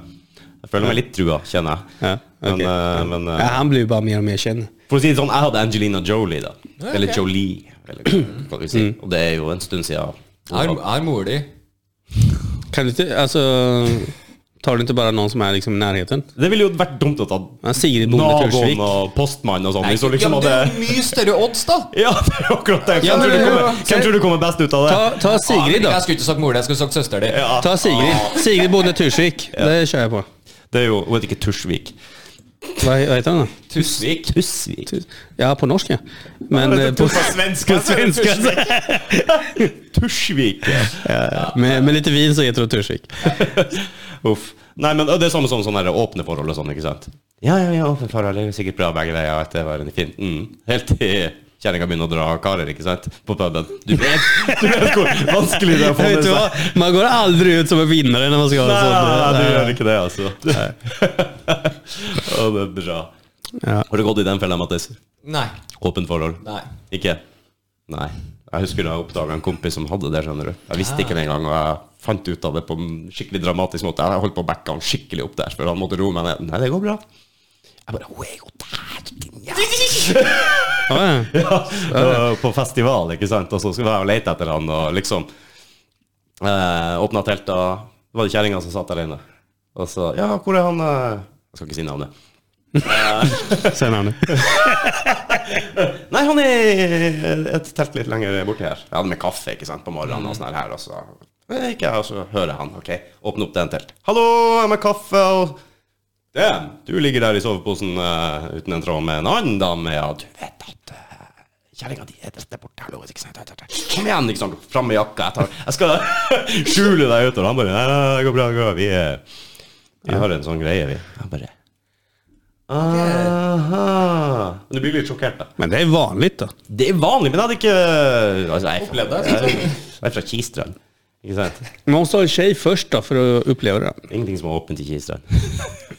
jeg føler meg litt trua, kjenner jeg. Ja, okej. Men, eh, men ja, eh, han blir ju bara mer och mer känd. for å si det sånn, jeg hadde Angelina Jolie, da. Ja, Eller ok. Jolie, eller hva du sier. Og det er jo en stund siden. Jeg har- jeg har mor di. Kan du inte, alltså, tar du inte bara någon som är liksom i närheten? Det ville jo vært dumt å ta Ja, Sigrid Bonde Tursvik. naboen og postmann og sånn. Hvis hun Ja, liksom men det hadde er jo mye større odds, da! Ja, det er jo akkurat det. Ja, Hvem men tror du det er jo- kommer- hvem tror du kommer best ut av det? Ta, ta Sigrid då. Jeg skulle ikke sagt mor di, jeg skulle sagt søster di. Ja. Ta Sigrid. Sigrid Bonde Tursvik. Det kör jag på. Det er jo Hun heter ikke Tursvik. Vad, vad heter han då? Tusvik. Tussvik? Ja, på norska. Men, eh, på, svenska, svenska. Tursvik. med, med lite vin så heter hon Tursvik. Uff. Nei, men det er samme som sånne her åpne forhold og sånn, ikke sant? Ja, ja, ja, åpne forhold det er jo sikkert bra begge veier. At det var veldig fint. Mm. Helt til kjerringa begynner å dra karer, ikke sant? På puben. Du vet, du vet hvor vanskelig det er å få Vet med du seg. vad? Man går aldrig ut som en vinnare när man ska ha Nei, en sån. nei, nei, du Nej. gjør ikke det, alltså. altså. Å, det er bra. Ja. Har du gått i den fella, Mattis? Nei. Åpent forhold? Nei. Ikke? Nei. Jeg husker da jeg oppdaga en kompis som hadde det. skjønner du Jeg visste ikke det engang, og jeg fant ut av det på en skikkelig dramatisk måte. Jeg holdt på å backe han skikkelig opp der, for han måtte roe meg ned. Nei, det går bra. Jeg bare Hun er jo der, din jævel!» Ja, ja. Og På festival, ikke sant. Og så skulle jeg og lete etter han, og liksom eh, Åpna telta, så var det kjerringa som satt der inne. Og så Ja, hvor er han eh?» Jeg skal ikke si navnet. Sen har ni. Nei, han er et telt litt lenger borti her. Jeg hadde med kaffe ikke sant, på morgenen Mm. og sånn her, her, og så Eh, ikke jeg, og så hører han. ok, Åpne opp den telt. 'Hallo, jeg har med kaffe.' og Damn, du ligger der i soveposen eh, uten en tråd med en annen dame, ja. Du vet at uh, kjerringa di er der borte. hallo, ikke sant? Kom igjen, ikke sant. Fram med jakka. Jeg, tar, jeg skal skjule deg ute. Og han bare Nei, nei, nei, det går bra. Det går bra. Vi, er, vi har en sånn greie, vi. Han bare Aha. Men du blir litt sjokkert, da. Men det är vanligt då. Det er vanlig, men alltså, jeg hadde ikke altså, jeg, er fra- Opplevd det, jeg, jeg er fra Kistrand. Ikke sant? Man måste ha en tjej först då för att uppleva det. Ingenting som er åpent i Kistrand.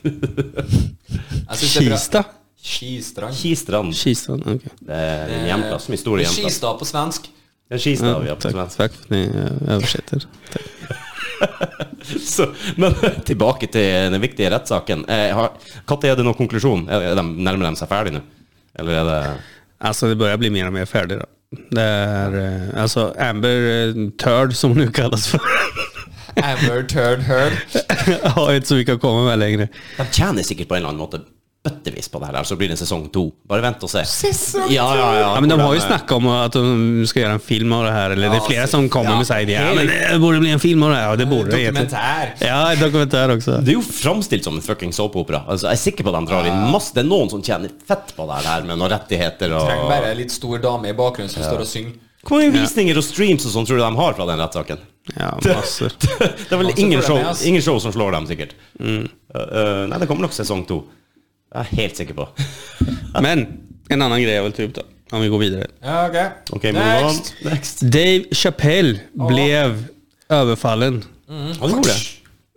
Jeg synes det er bra. Kista? Skistrand. Kistrand Kista, okej. det er en hjemplass. Min store Det er hjemplass. Skistad Eh, på svensk. Det er Kistad vi har på Tack, svensk. tack för att ni eh, översätter. Tack. Så, men tilbake til den viktige rettssaken. Eh, har- Når er det noen konklusjon? Er er de, nærmer de seg ferdig nå? Eller er det Alltså det börjar bli mer och mer färdig då. Det är, eh, alltså Amber eh, Turd som hon nu kallas för. Amber Turd Heard. har inte så mycket att komma med längre. De tjener sikkert på en eller annen måte bøttevis på det her, så blir det en sesong to. Bare vent og se. Sesong Ja, ja, ja. Ja, men de har ju Hvordan- snackat om att de ska göra en film av det här. Eller det är Ja, flera så- som kommer ja. med så här idéer. Ja, men det borde bli en film av det här. Ja, det borde det. egentligen. Dokumentær. Ja, en dokumentär också. Det er jo framstilt som en fucking Alltså, såpeopera. Altså, jeg er sikker på at de drar inn masse Det er noen som tjener fett på det her med noen rettigheter Trenger og bare en litt stor dame i bakgrunnen som står og synger. Hvor mange visninger og streams og sånn tror du de har fra den rettssaken? Ja, massor. Det er vel Masse ingen show, problemer, ass. ingen show som slår dem, sikkert. Uh, uh, nei, det kommer nok sesong to. Jeg er helt sikker på. Men en annan grej jag vill ta upp då. Om vi går vidare. Ja, ok. Ok, move on. Next! Next. Dave Chappelle blev överfallen. Ja, du gjorde det.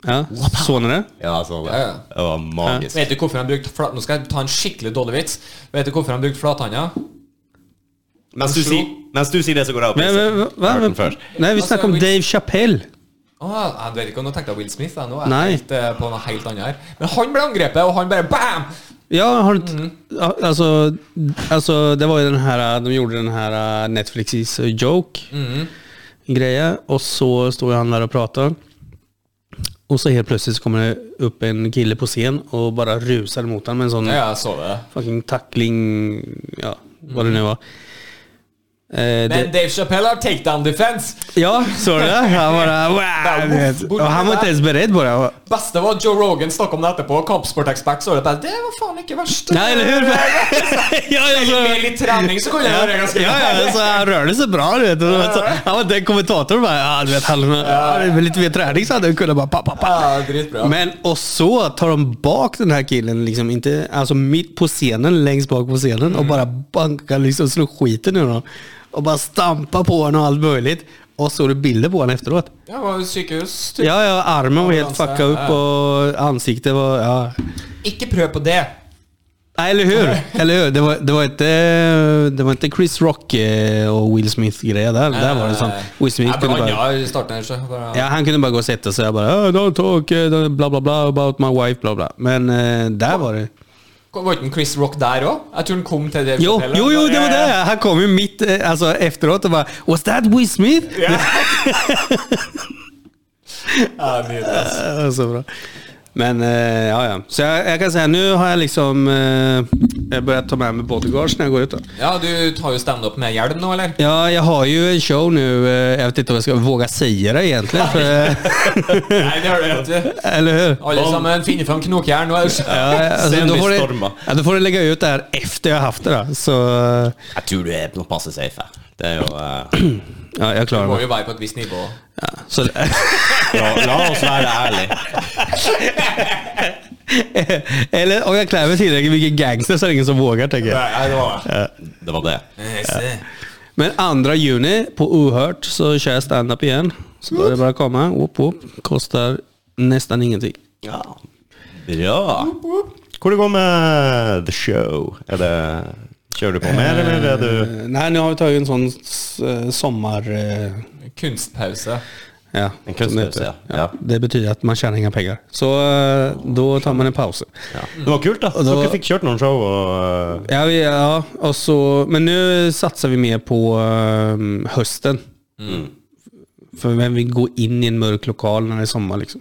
Ja, såg ni det? Ja, sånn. Ja, ja. Det var magisk. Vet du hvorfor han brukte flat... Nå skal jeg ta en skikkelig dårlig vits. Vet du hvorfor han brukte flathanda? Mens du, Slo. sier, mens du sier det, så går jeg opp. Men, men, Jeg har va? hørt den før. Nej, vi snackar om Dave Chappelle. Åh, jeg vet ikke om du tenkte jeg Will Smith. Jeg, nå er Nei. jeg helt, eh, på noe helt annet her. Men han ble angrepet, og han bare Mm. bam! Ja, har du inte... ja, Alltså, alltså, det var ju den här, de gjorde den här äh, Netflixis joke grejen och så står han där och pratar. Och så helt plötsligt så kommer det upp en kille på scen og bara rusar mot honom med en sån Ja, jeg så det. fucking tackling, ja, vad det nu var. Eh, det, Men Dave Chappelle har takedown defense. ja, såg du det? Han bara, wow, du vet. Och han var inte ens beredd på det. Beste var Joe Rogan snakka om det etterpå. Kampsportekspert så det bare Det var faen ikke verst. Nej, eller hur? ja, jag såg Med litt trening så kunne jeg Ja, gjøre det ganske ja, ja, så han rörde sig bra du vet. Och så- Han var inte en kommentator bara, ja, du vet, han, med lite mer träning så hade han kunnat bara pa, pa, pa. Ja, dritbra. Men och så tar de bak den här killen, liksom, inte, alltså mitt på scenen, längst bak på scenen Mm. och bara bankar, liksom slår skiten ur honom. Och bara stampar på honom och allt möjligt. Og så är det bilder på honom efteråt. Ja, var jo sykehus. typ. Ja, ja, armen var helt Ambulans, fuckad upp ja. och ansiktet var, ja. Ikke prøv på det. Nej, eller hur? Eller hur? Det var, det var inte, eh, det var inte Chris Rock eh, och Will Smith grejer där. där var det sånt. Will Smith kunde bara, Eh, Ja, i starten her, så bare ja, han kunde bara gå och sätta sig och bara oh, don't talk, eh, bla bla bla about my wife, bla bla. Men eh, där var det. Var ikke en Chris Rock der òg? Jeg tror han kom til det Jo, hotellet. jo, jo, det var Ja, ja, det. ja. Han kom ju mitt, eh, alltså efteråt och bara was that Will Smith? Ja, nydelig, ass. Ja, Så bra. Men eh, ja, ja. Så jag, jag kan säga nu har jag liksom eh, jag börjat ta med mig bodyguards när jag går ut. Då. ja, du tar jo standup med hjelm nå, eller? Ja, jag har ju en show nu. eh, Jag vet inte om jag ska våga säga det egentligen. För, eh, Nei, det har du ikke. eller hur? Alle sammen finner fram knokjern. nå er det- Ja, alltså, Sen då, blir får du, storma. ja, då får du lägga ut det här efter jag har haft det. Då. Så Jeg tror du er nå passe safe her. Det er jo eh, ja, jag klarar Må mig. jo være på et visst nivå. Ja, så, la, la oss være ærlige. eller om jag klär mig tillräckligt mycket gangster så är det ingen som vågar tänker jag. Nei, det var Det var det. Men 2 juni på Ohört så kör jag stand-up igen. Så då är det bara att komma. Whoop, whoop. Kostar nästan ingenting. Ja. Bra. Hvor det går med The Show? Er det, kjører du på mer, eller er du Eh, Nej, nu har vi tagit en sån eh, sommar... eh, Kunstpause. Ja, En som det kunstpause, heter. ja. Ja. Det betyder att man tjänar inga pengar. Så eh, då tar man en paus. ja. Det var kult, da. det var- Dere fikk kjørt noen show. eh, Og, Ja, vi, ja, och så, men nu satsar vi mer på eh, hösten. Mm. För vem vill gå in i en mörk lokal när det är sommar liksom?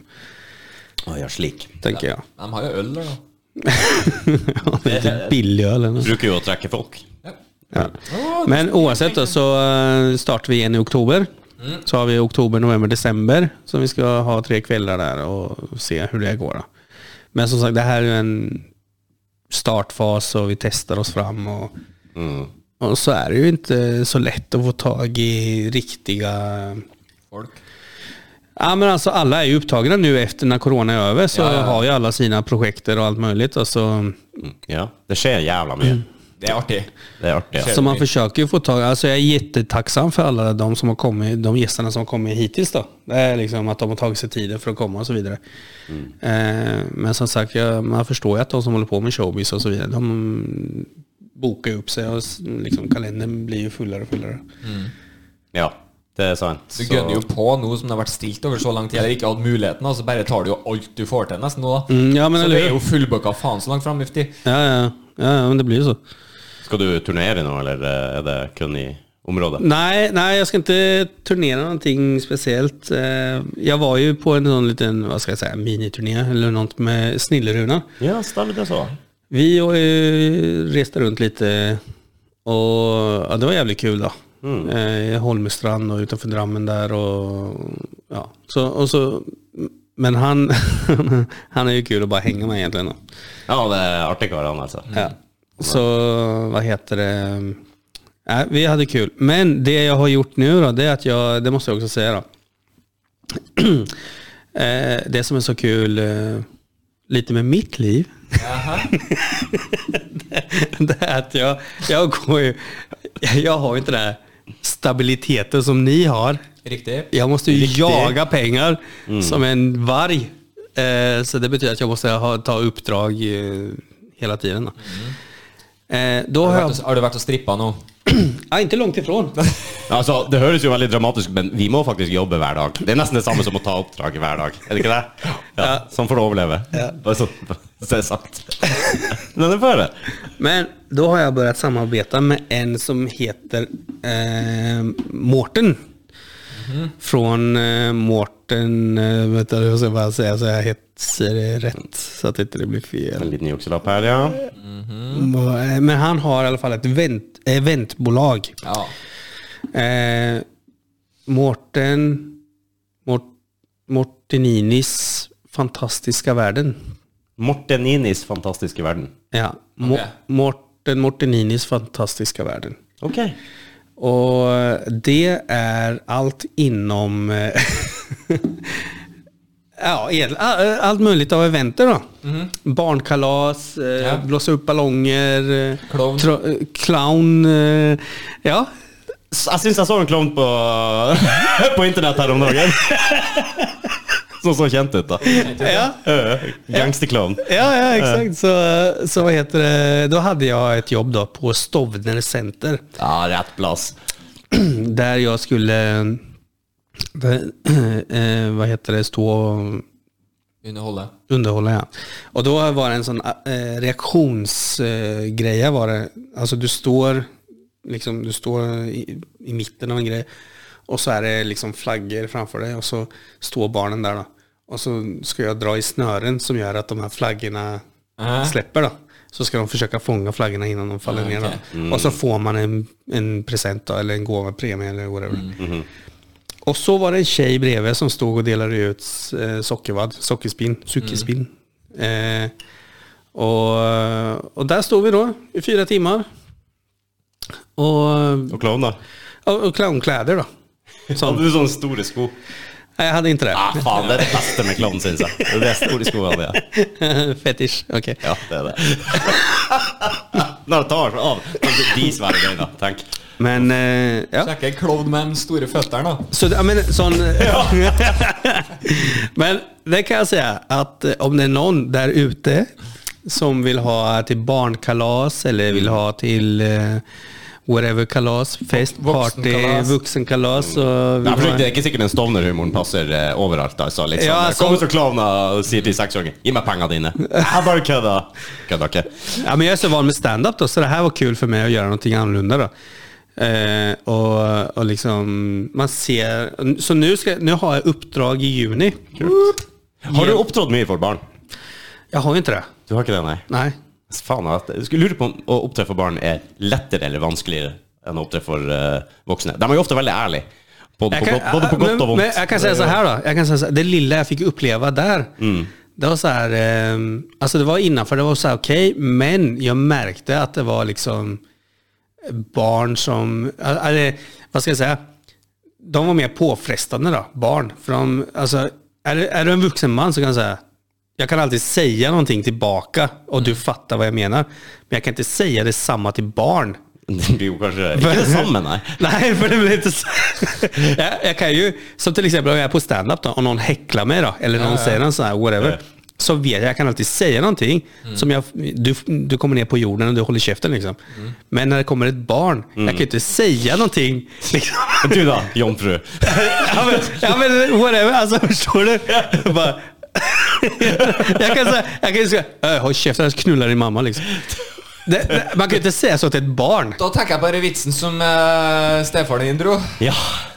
å ja, slik. Tänker jag. De har jo øl der, da. Ja, det är inte billig öl eller något. Bruker jo å trekke folk. Ja. Men oavsett då, så eh, startar vi igen i oktober. Mm. Så har vi oktober, november, december som vi ska ha tre kvällar där och se hur det går. Då. Men som sagt, det här är ju en startfas och vi testar oss fram. Och, Mm. och så är det ju inte så lätt att få tag i riktiga Folk. Ja men alltså alla är ju upptagna nu efter när corona är över så Ja, ja, ja. har ju alla sina projekter och allt möjligt. Alltså, Ja. Det skjer jævla mye. Det er artig. Det är artigt. Skjer. så man det. försöker ju få tag alltså jag är jättetacksam för alla de som har kommit, de gästerna som har kommit hittills då. Det är liksom att de har tagit sig tiden för att komma och så vidare. Mm. Eh, men som sagt, jag, man förstår ju att de som håller på med showbiz och så vidare, de bokar ju upp sig och s- liksom, kalendern blir ju fullare och fullare. Ja, det er sant. Du Så- gønner jo på nå som det har vært stilt over så lang tid, eller ikke hatt muligheten, og så bare tar du jo alt du får til nesten nå, da. Mm, ja, men så eller det hur? er jo fullbooka faen så langt fram i tid. Ja, ja, ja, ja, men det blir ju så. Skal du turnere nå, eller eh, er det kun i området? Nej, nej, jag ska inte turnera någonting speciellt. Eh, Jag var ju på en sån liten, vad ska jag säga, miniturné eller något med Snilleruna. Ja, stemmer det så. Vi eh, reste runt lite och ja, det var jävligt kul då. Eh, I Holmestrand och utanför Drammen där. Och, ja. så, og så, men han, han är ju kul att bara hänga med egentligen. Då. Ja, det er artig kar, han, altså. Ja. Mm. Så vad heter det? Nej, vi hade kul. Men det jag har gjort nu då, det är att jag, det måste jag också säga då. Eh, det som är så kul eh, lite med mitt liv, Jaha. det är att jag, jag går ju, jag har ju inte den här stabiliteten som ni har. Riktig. Jag måste ju jaga pengar som en varg. Eh, så det betyder att jag måste ha, ta uppdrag eh, hela tiden. Då. Eh, då Har har jag, du vært og- Har du vært og strippa nå? ja, inte långt ifrån. Altså, Det høres jo veldig dramatisk ut, men vi må faktisk jobbe hver dag. Det er nesten det samme som å ta oppdrag hver dag. Er det ikke det? Ja, Sånn får du overleve. Bare sånn, så er det sagt. Men det får jeg det. Men då har jag börjat samarbeta med en som heter eh, Mårten. Från eh, Mårten, eh, vänta jag ska bara säga så jag heter det rätt så att inte det blir fel. En liten jukselapp her, ja. Eh, Men han har i alla fall ett event, eventbolag. Ja. Eh, Mårten Mort, Morteninis fantastiska världen. Morteninis fantastiske verden. Ja, Mo- Okej. Mårten Morteninis fantastiska världen. Ok. Och det är allt inom eh, ja, egentligen all- allt möjligt av eventer. Då. Barnkalas, eh, Mhm. Ja. blåsa upp ballonger, eh, Clown. tro- eh, clown eh, ja. S- Jeg syns jeg så en klovn på, på internett her om dagen. Som så kjent ut, da. Ja, Øh, Gangsterklovn. ja, ja, exakt. Så, så vad heter det? Då hade jag ett jobb då på Stovner Center. Ja, rett plass. där jag skulle där, eh, vad heter det, stå och Underholde. underhålla. Ja. Och då var det en sån eh, reaktionsgreja var det. Alltså du står, liksom, du står i, i mitten av en grej och så är det liksom flaggor framför dig och så står barnen där då. Och så ska jag dra i snören som gör att de här flaggorna Äh. släpper då. Så ska de försöka fånga flaggorna innan de faller Ah, ner. okej. Då. Och så får man en, en present då, eller en gåva, premie eller whatever. Mm. Och så var det en tjej bredvid som stod och delade ut eh, sockervadd, sockerspinn, sockerspinn. Eh, och, och där stod vi då i fyra timmar. Och, Og klovn, da? och, och clownkläder då. Som, Hadde du sånne store sko? nej, jeg hadde ikke det. Ah, faen, det er det beste med klovn, syns jeg. Det er det store sko hadde jeg. Fetish, okej. Ja, det er det. Når det tar seg av de svære greiene, tenk. Men eh, ja. Sjekke klovn med de store føttene, da. Så jag menar, sån... Men det kan jag säga att eh, om det är någon där ute som vill ha till barnkalas eller vill ha till eh, whatever kalas, fest, party, vuxenkalas. vuxenkalas så vill Nei, for Det ha, er ikke sikkert den Stovner-humoren passer eh, overalt. altså liksom. Ja, altså- Kommer som klovner og sier til seksåringen 'gi meg pengene dine'. Jeg bare kødder. Kødder ikke. ja, men Jag är så van med stand-up då, så det här var kul för mig att göra någonting annorlunda då. Eh, och, och liksom, man ser, så nu, ska, nu har jag uppdrag i juni. Har du opptrådt mye for barn? Jag har ju inte det. Du har ikke det, nei? Nej. Faen, at- jeg skulle lure på om å opptre for barn er lettere eller vanskeligere enn å opptre for eh, voksne. De er jo ofte veldig ærlige. På, på, Jeg kan- godt- både på godt men- og vondt. Men jag kan säga så här då. Jag kan säga så här, det lilla jag fick uppleva där. Det var så här, ehm, alltså det var innanför, det var så här okej, men jag märkte att det var liksom barn som, eller vad ska jag säga, de var mer påfrestande då, barn. För de, alltså, är, du- är du en vuxen man så kan jag säga, jag kan alltid säga någonting tillbaka och du fattar vad jag menar. Men jag kan inte säga detsamma till barn. Det blir jo kanskje ikke det samme, nei. Nej, för det blir inte så. jag, jag kan ju, som till exempel om jag är på stand-up då, om någon häcklar mig då, eller någon säger någon sån här whatever. Ja. Så vet jag, jag kan alltid säga någonting som jag, du, du kommer ner på jorden och du håller käften liksom. Men när det kommer ett barn, jag kan ju inte säga någonting. Liksom. Men Du da, jomfru. ja, men, ja men whatever, alltså förstår du? Bara, jag kan säga, jag kan ju säga, "Äh, håll käften jag knullar din mamma liksom. Det, det, man kan ju inte säga så till ett barn. Da tenker jeg på den vitsen som eh, stefaren din dro. Ja,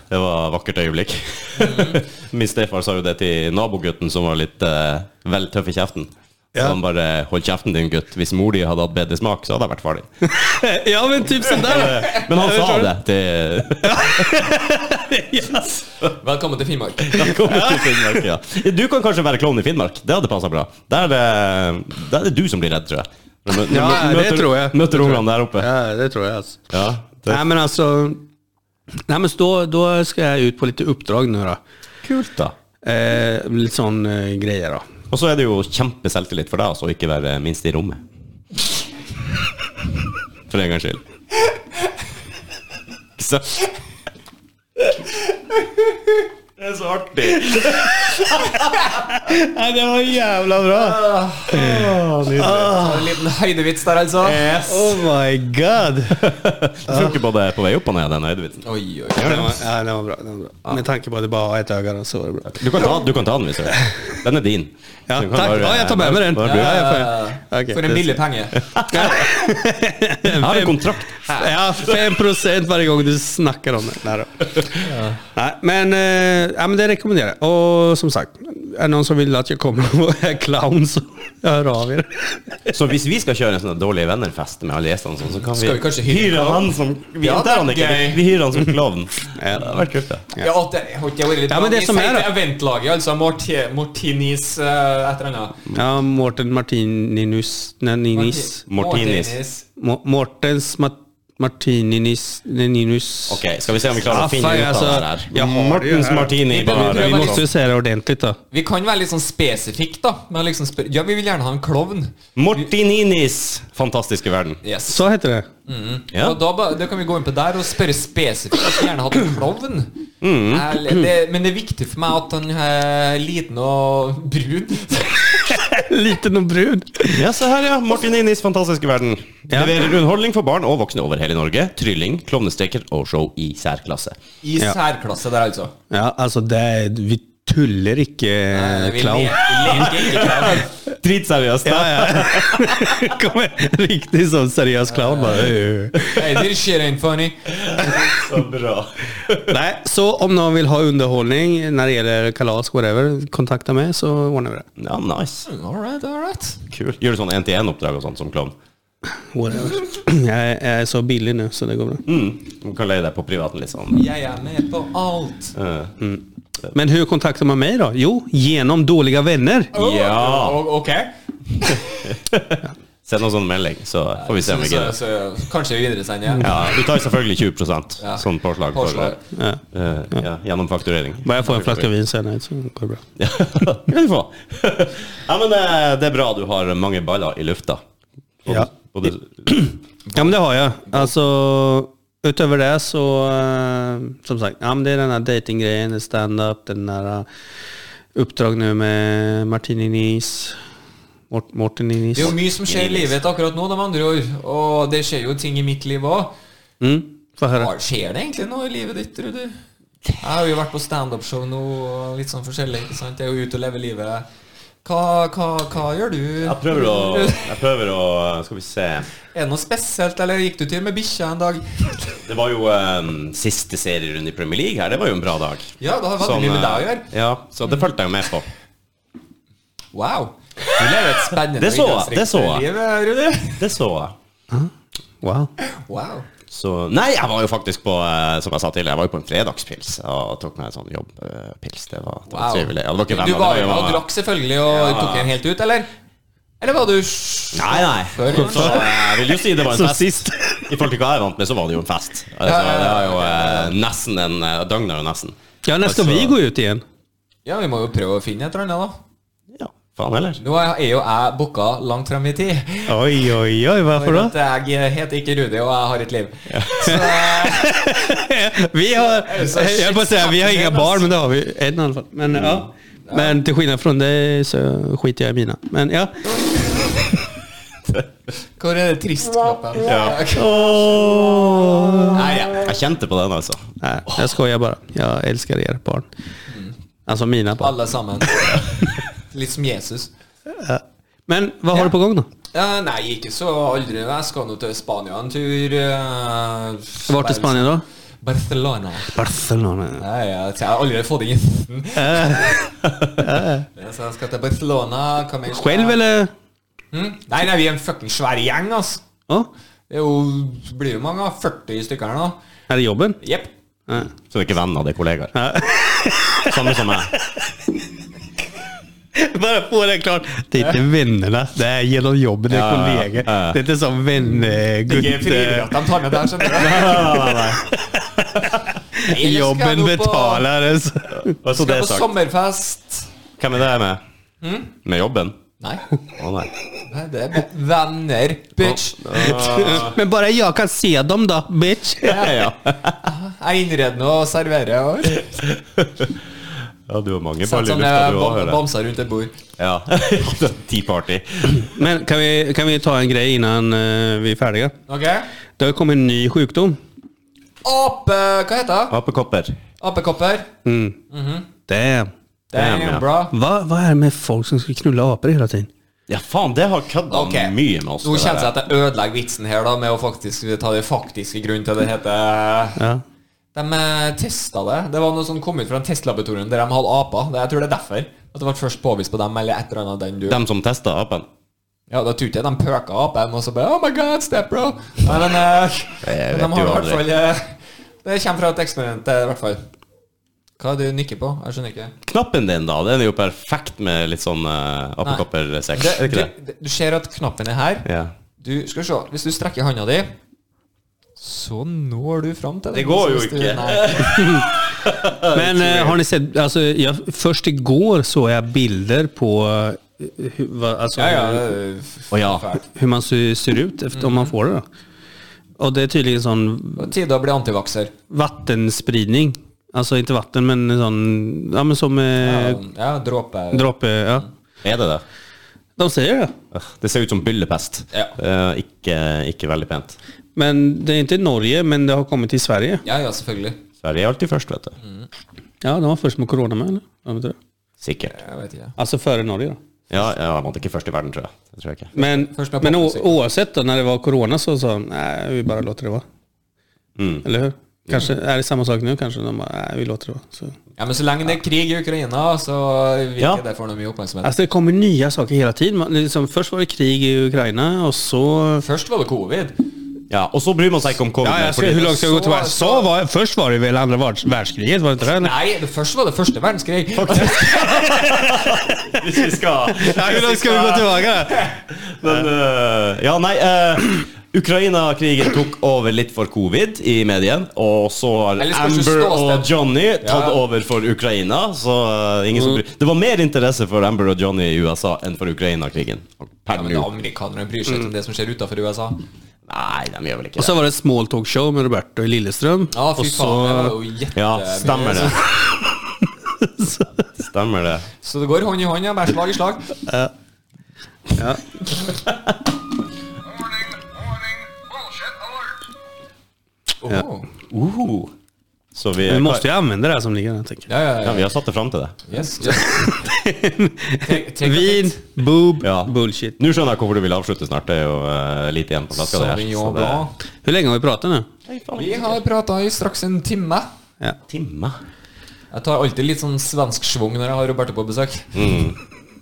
det var vakkert øyeblikk. Mm. Min stefar sa jo det til nabogutten som var litt eh, vel tøff i kjeften. Så han bare Hold kjeften din, gutt. Hvis mor di hadde hatt bedre smak, så hadde jeg vært far din. Ja, men typ sånn der. Men han Jeg sa tror det til Yes. Velkommen til Finnmark. Da kommer du til Finnmark, ja. Du kan kanskje være klovn i Finnmark. Det hadde passa bra. Der er, det, der er det du som blir redd, tror jeg. Når mø- Ja, når mø- det møter- tror jeg. Møter ungene der oppe. Ja, det tror jeg alltså. Ja, det Nej men alltså. Nej men då, då ska jag ut på lite uppdrag nu då. er kult, da. Eh, lite sån eh, grejer då. Og så er det alltså, jo kjempeselvtillit for deg altså, å ikke være minst i rommet. For en gangs skyld. Ikke sant? Det er så artig. Nej det var jävla bra. En liten høydevits der, altså. Oh my god. Du funker både på vei opp og ned, den høydevitsen. Oi, oi, oi. Den var, ja, den var bra. Den var bra. Med tanke på att det bara var ett öga då, så var det bra. Du kan, ta, du kan ta den hvis du vil. Den er din. Ja, Du kan tack. bare- Ja, jag tar med mig den. Bare bli- Ja, jag får- okej. For en billig penge. Jeg har en kontrakt. Ja, 5 varje gång du snackar om det. Nej, då. Nej, men, eh, ja, men det rekommenderar jag. Och som sagt, är det någon som vill att jag kommer att vara clown så hör av er. Så hvis vi skal kjøre en sånn dårlige venner-fest med alle gjestene, sånn, så kan vi, Skal vi kanskje hyre en han som vi, Ja, der er han det ikke, er vi, gøy. vi hyrer han som klovn. Det hadde vært kult, det. Ja, og det, har ikke jeg vært litt Ja, men det Vi som sier er, da- til Eventlaget, altså. Morti- Mortinis eh, et eller annet. Ja, Mårten Martininus... Nej, Ninis. Mortinis. Må- Mårtens Ma- Martininis... Ninus. Ok, Skal vi se om vi klarer Ja, å finne fan, ut av altså, det her. jeg har det jo Mortens her. Martini. Vi- vi- Bare. Vi måste ju säga det ordentligt då. Vi kan være litt sånn spesifikk, da. Men liksom spør ja, vi vil gjerne ha en klovn. Mortininis fantastiske verden. Yes. Så heter det. Ja. Og da, ba- da kan vi gå inn på der og spørre spesifikt. Jeg skulle gjerne hatt en klovn. Ærlig, Det, men det er viktig for meg at han er liten og brun. Liten och brud. ja, se her, ja. Mortininis fantastiske verden. Ja. Leverer underholdning for barn og voksne over hele Norge. Trylling, klovnestreker og show i særklasse. I Ja. særklasse der, altså. Ja, alltså det är, vi tuller icke Vi Eh, clown. le- vi leker ikke clown. Dritseriøst. Ja, ja. Kommer riktig sånn seriøs clown. Eh, Bare. Hey, this shit ain't funny. Så bra. Nei, så om noen vil ha underholdning når det gjelder kalas, whatever, kontakta meg, så ordner vi det. Ja, nice. All right, all right. Kult. Gjør du sånn én-til-én-oppdrag og sånt som klovn? Whatever. Mm. Jeg er- jeg er så billig nå, så det går bra. Du kan leie deg på privaten, liksom. Jeg er med på alt. Eh, Men hvordan kontakter man meg, da? Jo, gjennom dårlige venner. Ja. Oh, ok. Send oss en melding, så får vi se Så, om vi så, gidder. så, kanskje vi videresender. Ja, vi tar selvfølgelig 20 Ja. sånn påslag, Påslag. For, eh, ja, gjennom fakturering. Bare jeg får en flaske vin senere, så går det bra. Ja, det kan du få. Ja, men det, det er bra du har mange baller i lufta. Og- Ja. og det- Ja, men det har jeg. Alltså, utöver det så, eh, som sagt, ja, men det är den här datinggrejen, det är stand-up, den där eh, uppdrag nu med Martin Innis, Mort- Morten Innis. Det er jo mye som skjer i livet akkurat nå, de andre ord. Og det skjer jo ting i mitt liv òg. Mm, får höra. Skjer det egentlig noe i livet ditt, Rudi? Jeg har jo vært på standup-show nå, og litt sånn forskjellig. ikke sant? Jeg er jo ute og lever livet. Hva, hva, hva gjør du? Jeg prøver å Jeg prøver å eh, Skal vi se. Er det noe spesielt, eller gikk du tur med bikkja en dag? Det var jo eh, siste serierunde i Premier League her. Det var jo en bra dag. Ja, det har veldig Som, mye med deg å eh, gjøre. Ja, så det fulgte jeg jo med på. Wow. Du lever et spennende Det så jeg, det så jeg. idrettsrikt liv, Det så jeg. Wow. Rudi. Wow. Så, nei, jeg var jo faktisk på eh, Som jeg sa tidligere, jeg var jo på en fredagspils og tok meg en sånn jobbpils. Det var, det var wow. trivelig. Ja, det var du ikke venner, var det jo og var- drakk selvfølgelig, og tok en helt ut, eller? Eller var du sj- Nei, nei. Før, Så eh, jeg vil jo si det var Som en fest. sist. I forhold til hva jeg vant med, så var det jo en fest. Altså, Ja, ja, ja, det var jo ok, ja, eh, nesten en eh, døgn er jo nesten. Ja, nästa Alltså- vi går ut igen. Ja, vi må jo prøve å finne et eller annet, da. Ja, faen heller. Nå er jo jeg booka langt fram i tid. Oj, oj, oj, varför For då? at jeg heter ikke Rudi, og jeg har et liv. Så Vi har, jag höll på att säga, vi har inga barn, men det har vi. En i alla fall. Men, ja. men till skillnad från dig så skiter jag i mina. Men ja. hvor er det trist-knappen? Ja. Ok. Nei, ja. Jeg kjente på den, alltså. altså. Nej, jag skojar bara. Jag älskar er barn. Alltså mina barn. Alle sammen. Litt som Jesus. Men vad har Ja. du på gång då? Ja, nei, ikke så aldri. Jeg skal nå til Spania en tur. eh, Vart i Spanien då? Barcelona. Barcelona. Nei, jeg, jeg har aldri fått det inn. Ja, Så jeg skal til Barcelona. hva mer skal jeg- Själv eller? Mm. Nei, nei, vi er en fucking svær gjeng, ass. Ja, Det er jo, blir jo mange, da. 40 stykker her nå. er det jobben? Jepp. Nei. Så det er ikke venner, det er kollegaer. Samme som meg. Bare få det klart. Det er ikke vennene, det er gjennom jobben, det er Ja, ja, ja. kolleger. Ja, ja. Det er ikke sånn Det er ikke vennegutt... frivillig at de tar med det her, skjønner du. Nei, nei, nei, nei. Ellers skal jeg Jobben nå på- betaler. altså. Bare så det Skal er på sagt. sommerfest. Hvem er det med? Mm. Med jobben? Nei, Å nei. nei, det er bare venner, bitch. Men bare jeg kan se dem, da, bitch! Ja, ja. Jeg innreder og serverer og ja, du har mange setter baller i sånne lufta, du òg, bam- hører jeg. bamser rundt et bord. Ja. Tea party. Men kan vi, kan vi ta en greie innan eh, vi er ferdige? Ok? Det har kommet en ny sjukdom. Ape... Hva heter det? Apekopper. Apekopper. Mm. Damn. Det er Damn, ja. jo bra. Hva, hva er det med folk som skal knulle aper hele tiden? Ja, faen, det har kødda Ok, mye med oss. Nå det kjennes det der. at jeg ødelegger vitsen her, da, med å faktisk ta den faktiske grunnen til det heter Ja. De testa det. Det var noe som kom ut fra en testlaboratorium der de hadde aper. Det- Jeg tror det er derfor at det ble først påvist på dem, eller et eller annet den du Dem som eh, testa apen. Ja, da tror ikke jeg de pøka apen og så bare Oh my god, step bro! Nei, men eh, Jeg men de vet har i jo hvert aldri. fall eh, Det kommer fra et eksperiment, eh, i hvert fall. Hva er det du nikker på? Jeg skjønner ikke. Knappen din, da. Den er jo perfekt med litt sånn uh, apekoppersex. Det, Er det ikke det? du, du ser at knappen er her. Ja. Du, skal vi se, Hvis du strekker handa di, så når du fram til den. Det går jo Hvis du- ikke. Nei. Men eh, har ni sett alltså, jag, Først igår såg jag bilder på eh, hur, va, alltså, Ja, Mm. ja. Å ja. Fælt. hur man ser, ser ut efter, om man får det. Då. Och det är tydligen sån På tide å bli antivakser. vattenspridning. Alltså inte vatten men en sån, ja men som eh, Ja, ja, dråpe. droppe, ja. Er det det? De säger det. Øh, Det ser ut som byllepest. Ja. Eh, ikke, ikke veldig pent. Men det är inte i Norge men det har kommit till Sverige. Ja, ja, selvfølgelig. Sverige er alltid først, vet du. Mm. Ja, de var først med korona med eller? Ja, vet du det? Sikkert. Jeg vet ikke. Alltså före Norge då. Ja, ja, jeg vant ikke først i verden, tror jeg. Det tror jeg ikke. Men, Först med men o, popmusik. oavsett då, när det var corona så sa de, nej vi bara låter det vara. Eller hur? Kanske är det samma sak nu kanske. De bara, nej vi låter det vara. Så. Ja, men så lenge det er krig i Ukraina, så vil Ja. ikke det få noe mye oppmerksomhet. Alltså det kommer nya saker hela tiden. Man, liksom, först var det krig i Ukraina och så... Først var det covid. Ja, og så bryr man seg ikke om covid. Ja, jag ska, fordi- hur långt ska jag gå tillbaka? Så- Så var, först var det väl andra världs- världskriget? Var det inte det? Eller? Nei, det første var det første verdenskrig. Hvis vi skal Ja, hur långt ska vi gå tillbaka? då? Men øh, Ja, nei eh, Ukraina-krigen tok over litt for covid i medien, og så har Eller skal ikke Amber stå og sted. Johnny tatt Ja. over for Ukraina. Så øh, ingen som bryr. Det var mer interesse for Amber og Johnny i USA enn for Ukraina-krigen. Per Ja, men nå. Amerikanerne bryr seg ikke om det som skjer utenfor USA. Nei, de gjør vel ikke Och det. så var det small talk show med Roberto i Lilleström. Ja, och fy faen, det var så... jo jette- Ja, stemmer det. Stemmer det. Så det går hånd i hånd, ja. Bare slag i slag. Ja. Warning, warning, bullshit alert. Oh. Uh. Så vi, Vi måste ju använda det här som ligger där, tänker jag. Ja, ja, Ja, ja. vi har satt det fram til det. Yes, yes. Take- take Vin, it. boob, Ja. bullshit. Nå skjønner jeg hvorfor du vil avslutte snart. Det er jo eh, lite igjen på flaska. det her, Sauvignon så det- Blanc. Hur länge har vi pratat nu? Vi har prata i straks en time. Ja. Timme. Jeg tar alltid litt sånn svensk schwung når jeg har Roberto på besøk.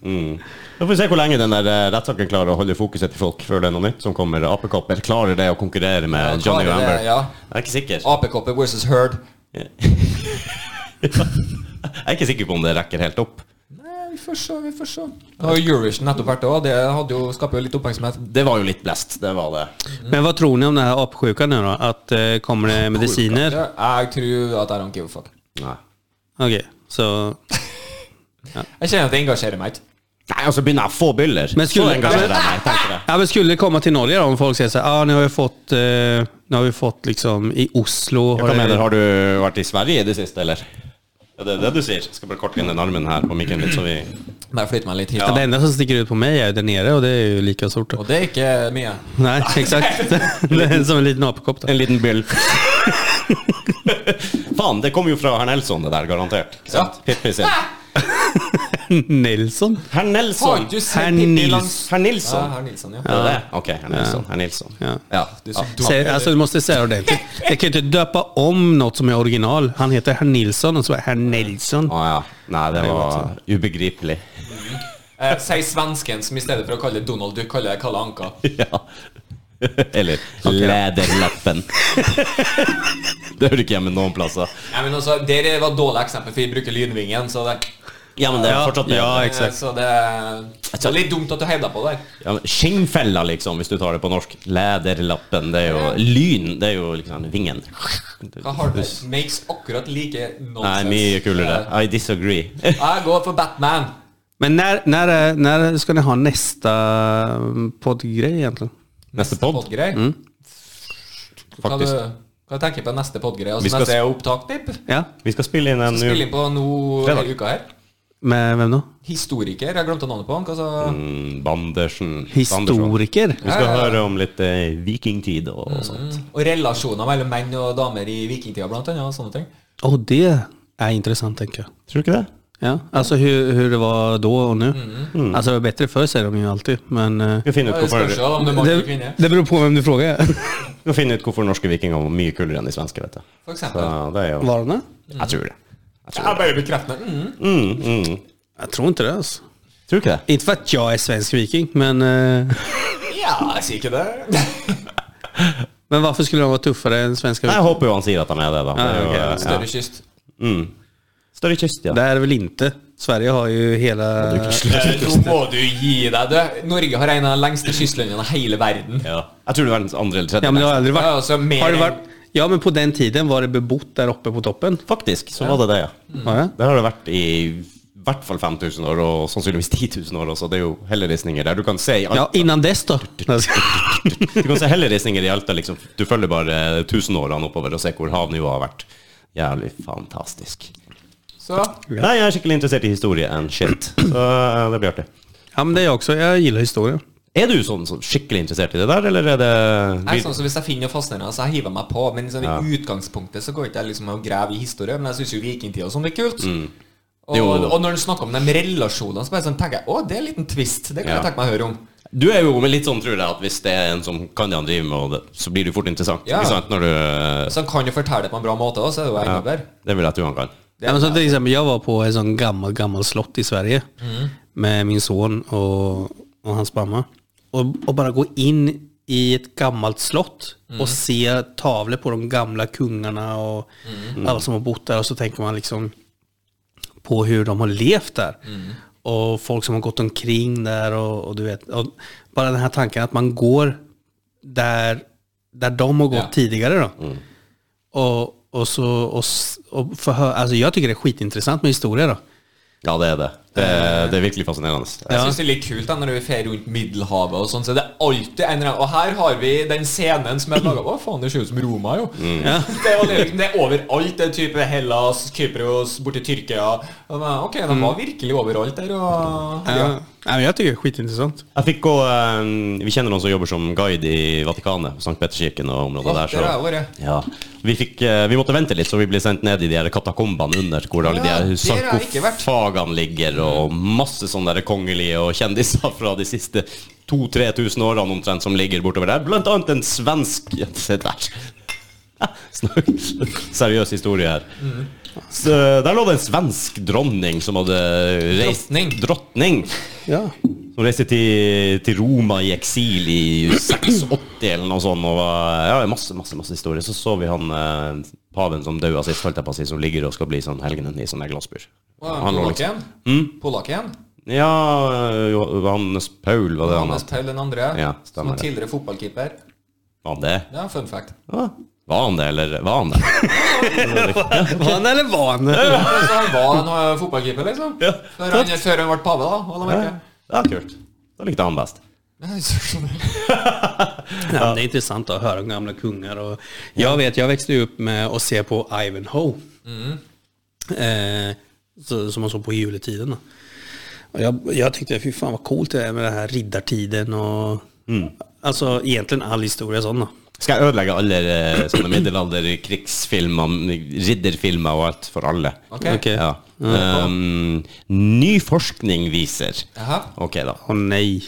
Mm. Da får vi se hvor lenge den der eh, rettssaken klarer å holde fokuset til folk før det er noe nytt som kommer. Apekopper, klarer det å konkurrere med Ja, klarer Johnny og det, Amber? ja. Jeg er ikke sikker. Apekopper versus Herd. Jeg er ikke sikker på om det rekker helt opp. Nei, vi får se, vi får se. Det har jo Eurovision nettopp vært òg. Det hadde jo, skaper jo litt oppmerksomhet. Det var jo litt blest, det var det. Men vad tror ni om den här apsjukan nu då? Att eh, kommer det mediciner? Ja, Jeg tror at I don't give a fuck. Nei. Okej, så... Jeg kjenner at det engasjerer meg ikke. Nei, altså begynner jeg å alltså, få byller. Men skulle- Så engasjerer jeg meg, tenker jeg. Ja, men skulle det komma till Norge då, om folk säger så här, ah, nu har vi fått, eh, nu har vi fått liksom i Oslo. Hva det- mener, har du vært i Sverige i det siste, eller? Ja, det er det du sier. Jeg skal bare korte inn den armen her på mikken litt, så vi Bare flytt meg litt hit. Ja, Det enda som sticker ut på mig är ju där nere och det är ju lika stort. då. Og det er ikke mye. Nej, exakt. det är som en liten apkopp. då. En liten byll. Faen, det kom jo fra herr Nelson, det der, garantert. Ikke sant? Pippi sin. Nelson? Herr Har Nelson! ikke du Herr sett Pippi Nils. langs Herr ja, Nilsson. Herr Nilsson, ja. Er det det? Ok, herr Nilsson. Herr Nilsson. Ja. Ja. Du er så dum. Säg, alltså, du måste säga det ordentligt. Jag kan ju inte döpa om något som är original. Han heter herr Nilsson och så är herr Nilsson. Å ja. Nei, det var ubegripelig. Eh, sier svensken, som i stedet for å kalle det Donald Duck, kaller det Kalle Anka. Ja. Eller Læderlappen. Det hører ikke hjemme noen plasser. Nei, men altså, Der var et dårlig eksempel, for vi bruker lynvingen. Så det, Ja, men det er Ja, fortsatt det. ja, eh, Exakt. så det, det er litt dumt at du heiv deg på der. Ja, men Skinnfella, liksom, hvis du tar det på norsk. Læderlappen. Det er jo lyn. Det er jo liksom vingen. Hva har du? Makes akkurat like Nei, nonsense. Eh, mye kulere. I disagree. Jeg går for Batman. Men när, när, är- när ska ni ha nästa mm, poddgrej egentligen? Neste pod, Podgrei. Hva, du, faktisk. hva tenker du på neste podgrei? Altså, Vi skal neste opptaktipp? Ja, Vi skal spille inn en Spille nå. inn på nå Fredag. i uka her. med vem då? Historiker. Jeg glemte navnet på alltså- han. Hva sa Mm, Bandersen. Bandersen. Historiker? Vi skal høre om litt eh, vikingtid og, og sånt. Og relasjoner mellom menn og damer i vikingtida, blant annet. Og sånne ting. Och det är intressant tänker jag. Tror du ikke det? Ja, alltså hur, hur det var då och nu. Mm. Alltså det var bättre förr säger de ju alltid, men eh, Vi skal finne ut Jeg skal hvorfor, se om det er mann eller det, kvinne. det beror på vem du frågar. vi skal finne ut hvorfor norske vikinger var mye kulere enn de svenske, vet du. For Så eksempel. det er jo Var det? Jeg tror det. Jeg tror, Jeg bare bekrefter mm. mm, mm. Jag tror inte det alltså. tror du ikke det? Inte för att jag är svensk viking, men, eh, Ja, jeg sier ikke det. men varför skulle de vara tuffare än svenska Nei, viking? jeg håper jo han sier at han er det, da. Det er jo, ok. eh, Større kyst. ja. Større kyst, ja. Det är det väl inte. Sverige har ju hela... Eh, Nå må du gi deg, du. Norge har en av de lengste kystlinjene i hele verden. ja. Jeg tror det er verdens andre eller tredje. Ja, men det har lengste. aldrig varit... Ja, altså, mer Har det enn- varit... Ja, men på den tiden var det bebott där uppe på toppen. Faktisk, så var det det, ja. Mm. Var det? Der har det vært i hvert fall 5000 år, og sannsynligvis 10 000 år også. Det er jo helleristninger der. Du kan se i Ja, Alta, innan dess då. du kan se helleristninger i Alta liksom. Du følger bare tusenårene oppover og ser hvor havnivået har vært. Jævlig fantastisk. Så Nei, jeg er skikkelig interessert i historie and shit. Så eh, det blir artig. Ja, men det är jag också. Jag gillar historia. Er du sånn som skikkelig interessert i det der, eller er det jeg er Alltså- sånn som Hvis jeg finner noe fascinerende, så jeg hiver meg på. Men sånn, Ja. i utgangspunktet så går ikke jeg liksom og graver i historie. Men jeg syns jo vikingtida og sånn er kult. Og, Mm. Jo. og når du snakker om de relasjonene, så bare sånn tenker jeg å, det er en liten twist. Det kan Ja. jeg tenke meg å høre om. Du er jo med litt sånn, tror jeg, at hvis det er en som kan det han driver med, og det, så blir du fort interessant. Ja. Ikke sant? Når du eh, Så han kan jo fortelle det på en bra måte også, så er det jo enda bedre. Det vil jeg tro han kan. Det Ja, er men så till exempel, jag var på ett sånt gammalt, gammalt slott i Sverige med min son och, och hans mamma. Och, och bara gå in i ett gammalt slott och se tavlor på de gamla kungarna och alla som har bott där. Och så tänker man liksom på hur de har levt där. Och folk som har gått omkring där och, och du vet. Och bara den här tanken att man går där, där de har gått Ja. tidigare då. Och, och så, och, s- och förhör, alltså jag tycker det är skitintressant med historia då. Ja, det er det. Det, er- Eh, det er virkelig fascinerende. Jeg synes det er litt kult da når vi fer rundt Middelhavet og sånn, så det er alltid en eller annen Og her har vi den scenen som jeg laga Å, faen, det ser ut som Roma, jo. Mm. Det, var det, liksom, det er overalt. Det er type Hellas, Kypros, borti Tyrkia og da, Ok, de Mm. var virkelig overalt der, og Ja. ja. Nej, men jag tycker det är skitintressant. Jeg fikk gå eh, Vi kjenner noen som jobber som guide i Vatikanet, Sankt Peterskirken og området Å, der. der har jeg vært. ja. vi, fikk, eh, vi måtte vente litt, så vi ble sendt ned i de her katakombene under, hvor alle Ja, de her der har Mm. jeg ikke vært. sarkofagene ligger, og masse sånne der kongelige og kjendiser fra de siste 2000-3000 årene omtrent som ligger bortover der. Blant annet en svensk ja, Se der. Snakk. Seriøs historie her. Mm. Så, der lå det en svensk dronning som hadde reist Drottning. Drottning. Ja. Som reiste til, til Roma i eksil i 86 eller noe sånt. Og var, ja, masse, masse masse historier. Så så vi han eh, paven som daua sist, holdt jeg på å si, som ligger og skal bli sånn helgenen i sånne glassbur. Hva, Han lå liksom Polakken? Polakken? Ja, Johannes Paul, var det han Johannes het? Paul den andre, Ja, som stemmer var det. tidligere fotballkeeper. Var han det? Ja, fun fact. Ja. Var han det, eller var han det? Var han eller var han? Så han var en eh, fotballkeeper, liksom? Ja. Før han, før han ble pave, da? Hold Ja, merke. ja, kult. Da likte han best. Ja, sånn. Ja, men det är intressant att höra om gamla kungar. Och jag vet, jag växte ju upp med att se på Ivanhoe. Eh, så, som man såg på juletiden. Då. Och jag, jag tyckte, fy fan vad coolt det är med den här riddartiden och alltså egentligen all historia sån då. Skal jeg ødelegge alle eh, sånne middelalderkrigsfilmer, ridderfilmer og alt for alle? Ok. Okej. Ja. Um, ny forskning viser Jaha. Ok, da. Åh nej.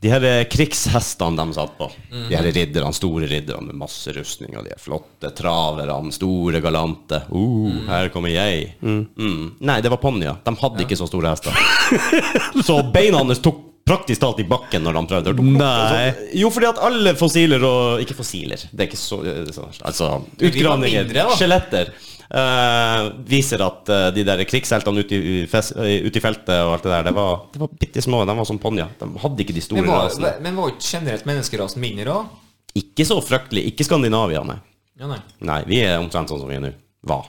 De her eh, krigshestene de satt på. De her ridderne, store ridderne med masse rustning. Og de her flotte traverne, store galante. Uh, her kommer jeg. Mm. Nei, det var ponnier. De hadde ikke så store hester. så beina hans tok praktisk talt i bakken når han prøvde. Nei. Så, jo, fordi at alle fossiler og Ikke fossiler, det er ikke så så- Altså, utgravninger, mindre, da. skjeletter, eh, viser at eh, de der krigsheltene ute i, fes- eh, ute i feltet og alt det der, det var, det var bitte små. De var som ponnier. De hadde ikke de store Men var, rasene. men var jo ikke generelt menneskerasen mindre òg? Ikke så fryktelig. Ikke Skandinavia, nei. Ja, nei. Nei, vi er omtrent sånn som vi er nå. Var.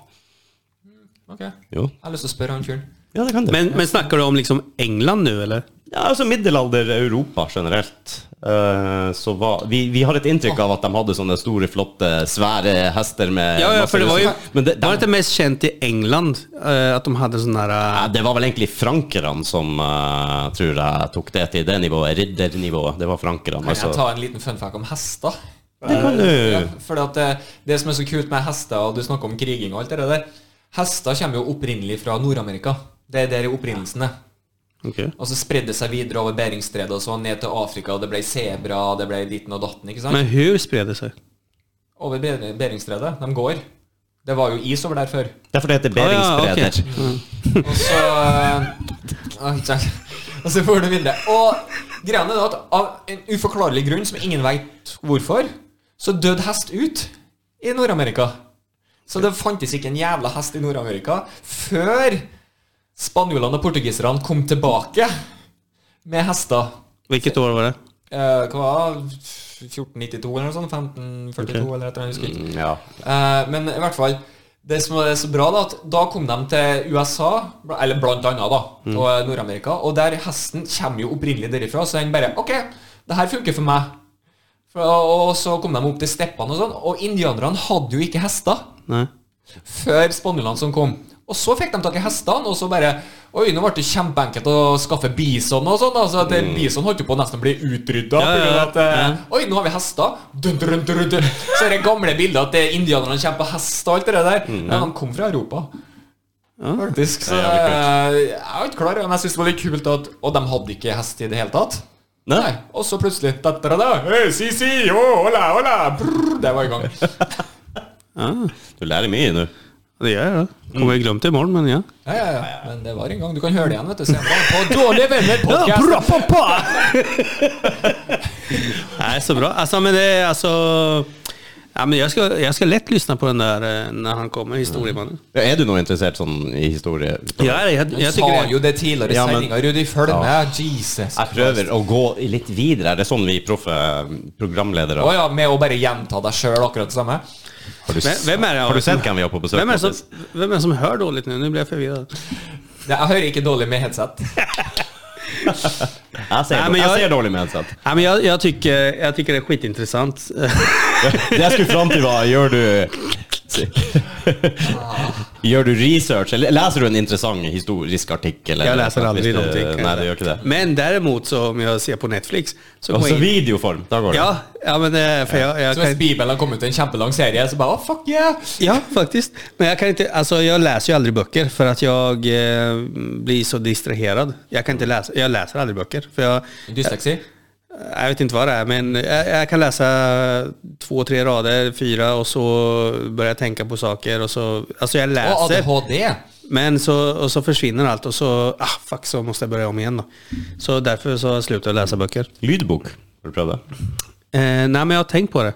Ok. Jeg Jo. har lyst til å spørre han fyren. Ja, det kan det. Men, men snakker du om liksom England nå, eller? ja, alltså altså middelalder-Europa generelt. eh, så var, vi, vi har et inntrykk Ah. av at de hadde sånne store, flotte, svære hester med Ja, ja, masse for det var jo rustning. Men det, Var det ikke mest kjent i England eh, at de hadde sånn her Nei, det var vel egentlig frankerne som eh, tror jeg tok det til det nivået. Riddernivået. Det var frankerne. Kan Altså. jeg ta en liten fun fact om hester? Det kan Ja, du. fordi at det, det som er så kult med hester, og du snakker om kriging og alt det der Hester kommer jo opprinnelig fra Nord-Amerika. Det er der opprinnelsen er. Ok. Og så spredde det seg videre over Beringstredet og så ned til Afrika, og det ble sebra, og det ble ditten og datten, ikke sant? Men hvordan spred det seg? Over Be- Beringstredet. De går. Det var jo is over der før. Derfor det heter beringspreder. Ah, ja, ok. Og så eh, ikke sant? Og så får du videre. Og greia er da at av en uforklarlig grunn som ingen veit hvorfor, så døde hest ut i Nord-Amerika. Så det fantes ikke en jævla hest i Nord-Amerika før spanjolene og portugiserne kom tilbake med hester. Hvilket år var det? Eh, hva var det? 1492 eller noe sånt? 1542 eller et eller annet? jeg husker ikke. Mm. Ja. Eh, men i hvert fall det som er så bra, da, at da kom de til USA, bl- eller blant annet, da, og eh, Nord-Amerika, og der hesten kommer jo opprinnelig derifra, så den bare OK, det her funker for meg. For, og, og så kom de opp til steppene og sånn, og indianerne hadde jo ikke hester Nei. før spanjolene som kom. Og så fikk de tak i hestene, og så bare Oi, nå ble det kjempeenkelt å skaffe bison og sånn. Altså, det, Bison holdt jo på å nesten bli utrydda. Ja, ja, ja. på grunn av at, eh, Oi, nå har vi hester. Dun, dun, dun, dun, dun. Så er det gamle bildet at det er indianerne kommer på hest og alt det der. Men de kom fra Europa. Faktisk. Så Det er jævlig eh, jeg var ikke klar, men jeg synes det var litt kult at Og de hadde ikke hest i det hele tatt. Nei. Nei. Og så plutselig da, da, da, hey, si, si, oh, hola, hola. Brrr, Det var i gang. Ah, Du lærer mye nå. det gjør jeg, da. Kommer jeg glemt det i morgen, men ja. Ja, ja, ja. Men det var en gang. Du kan høre det igjen, vet du. Senere på Dårlige venner podcast. Nej, så bra. Alltså, men det är alltså... Ja, men jag, ska, jag ska lätt lyssna på den där eh, när han kommer, historiemannen. Ja, er du noe interessert sånn i historie? Mm. Ja, jeg, jeg, Du jeg sa tycker det. jo det tidligere i Ja, men- sendinga, Rudi. Følg med. Jesus. Jeg prøver å gå litt videre. Er det sånn vi eh, proffe programledere Å ja, med å bare gjenta deg sjøl akkurat det samme? har, du, Hvem- hvem er det- har du sett hvem vi har på besøk? Vem är, det som, Mattis? vem är det som hör dåligt nu? Nu blir jag förvirrad. Det, jeg hører ikke dårlig med headset. Jeg ser, Nei, men jeg... jeg- ser dårlig med headset. Ja, men jag, jag, tycker, jag tycker det är skitintressant. Det jeg skulle fram til, var Gjør du Gjør du research, eller leser du en interessant historisk artikkel? eller- Jeg leser aldri Hvis du- noen ting. Nei, du gjør ikke det. Men däremot så om jag ser på Netflix så går Også jag in... videoform. Da går det. Ja, ja, men eh, för jag, jag Så hvis kan, Bibelen har kommet ut i en kjempelang serie, så bare oh, fuck yeah! Ja, faktiskt. Men jag kan inte, alltså jag läser ju aldrig böcker för att jag eh, blir så distraherad. Jag kan inte läsa, jag läser aldrig böcker för jag, Dysleksi. Jag vet inte vad det är, men jag, jag kan läsa två, tre rader, fyra och så börjar jag tänka på saker och så, alltså jag Og läser. ADHD. men så, och så försvinner allt och så, ah fuck, så måste jag börja om igen då. Så därför så slutar jag läsa böcker. Lydbok. Har du prøvd det? Eh, nej, men jag har tänkt på det.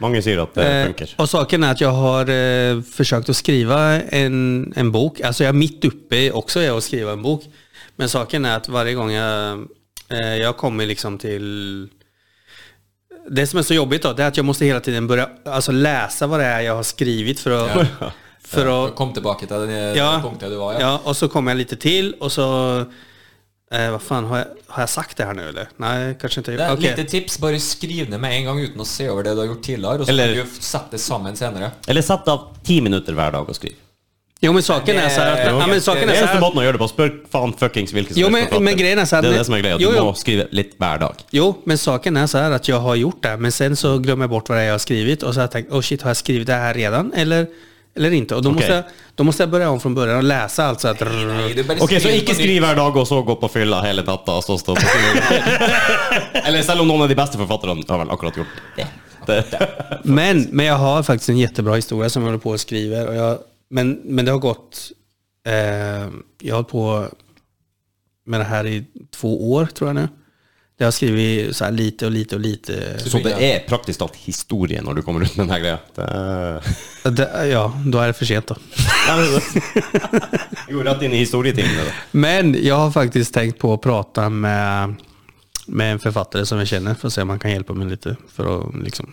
Mange sier at Mm. det Eh, funker. och saken är att jag har eh, försökt att skriva en, en bok. Alltså jag är mitt uppe i också i att skriva en bok. Men saken är att varje gång jag, eh, jag kommer liksom till... Det som är så jobbigt då, det är att jag måste hela tiden börja alltså, läsa vad det är jag har skrivit för att... För att Kom tilbake til det Ja. punktet du var i. Ja. Ja, och så kommer jag lite till och så... Eh, vad fan, har jag, har jag sagt det här nu eller? Nej, kanske inte. Det er et Okej. lite tips. Bare skriv ned med en gang uten å se over det du har gjort tidligere. Og så Eller- kan du sette det sammen senere. Eller sett av ti minutter hver dag og skriv. Eh, Jo men saken är så här Eh, att... Ja, men saken Det är er så eneste här att måten å gjøre det på. Spør faen fuckings hvilken som Jo, helst men- forfatter. men greien er så at- Det er det som er greia. Du Jo, jo. må skrive litt hver dag. Jo, men saken är så här att jag har gjort det, men sen så glömmer jag bort vad det är jag har skrivit och så har jag tänkt, oh shit, har jag skrivit det här redan? Eller, eller inte. Och då, Okej. måste jag, då måste jag börja om från början och läsa allt så att... Nei, du bare Ok, så skriver ikke på nytt. skriv hver dag og så gå på fylla hele natta og så stå på fylla. Eller selv om noen av de beste forfatterne har vel akkurat gjort det. Men, men jag har faktiskt en jättebra historia som jag håller på och skriver. Och jag, men, men det har gått... Eh, jag har hållit på med det här i två år tror jag nu. Jag har skrivit så här lite och lite och lite. Så det er praktisk talt historie når du kommer ut med denne greia. Det er... Det, ja, då är det för sent då. Nei, men det- Jeg går rett inn i historietimene. da. Men jag har faktiskt tänkt på att prata med, med en författare som jag känner för att se om han kan hjälpa mig lite. För att liksom,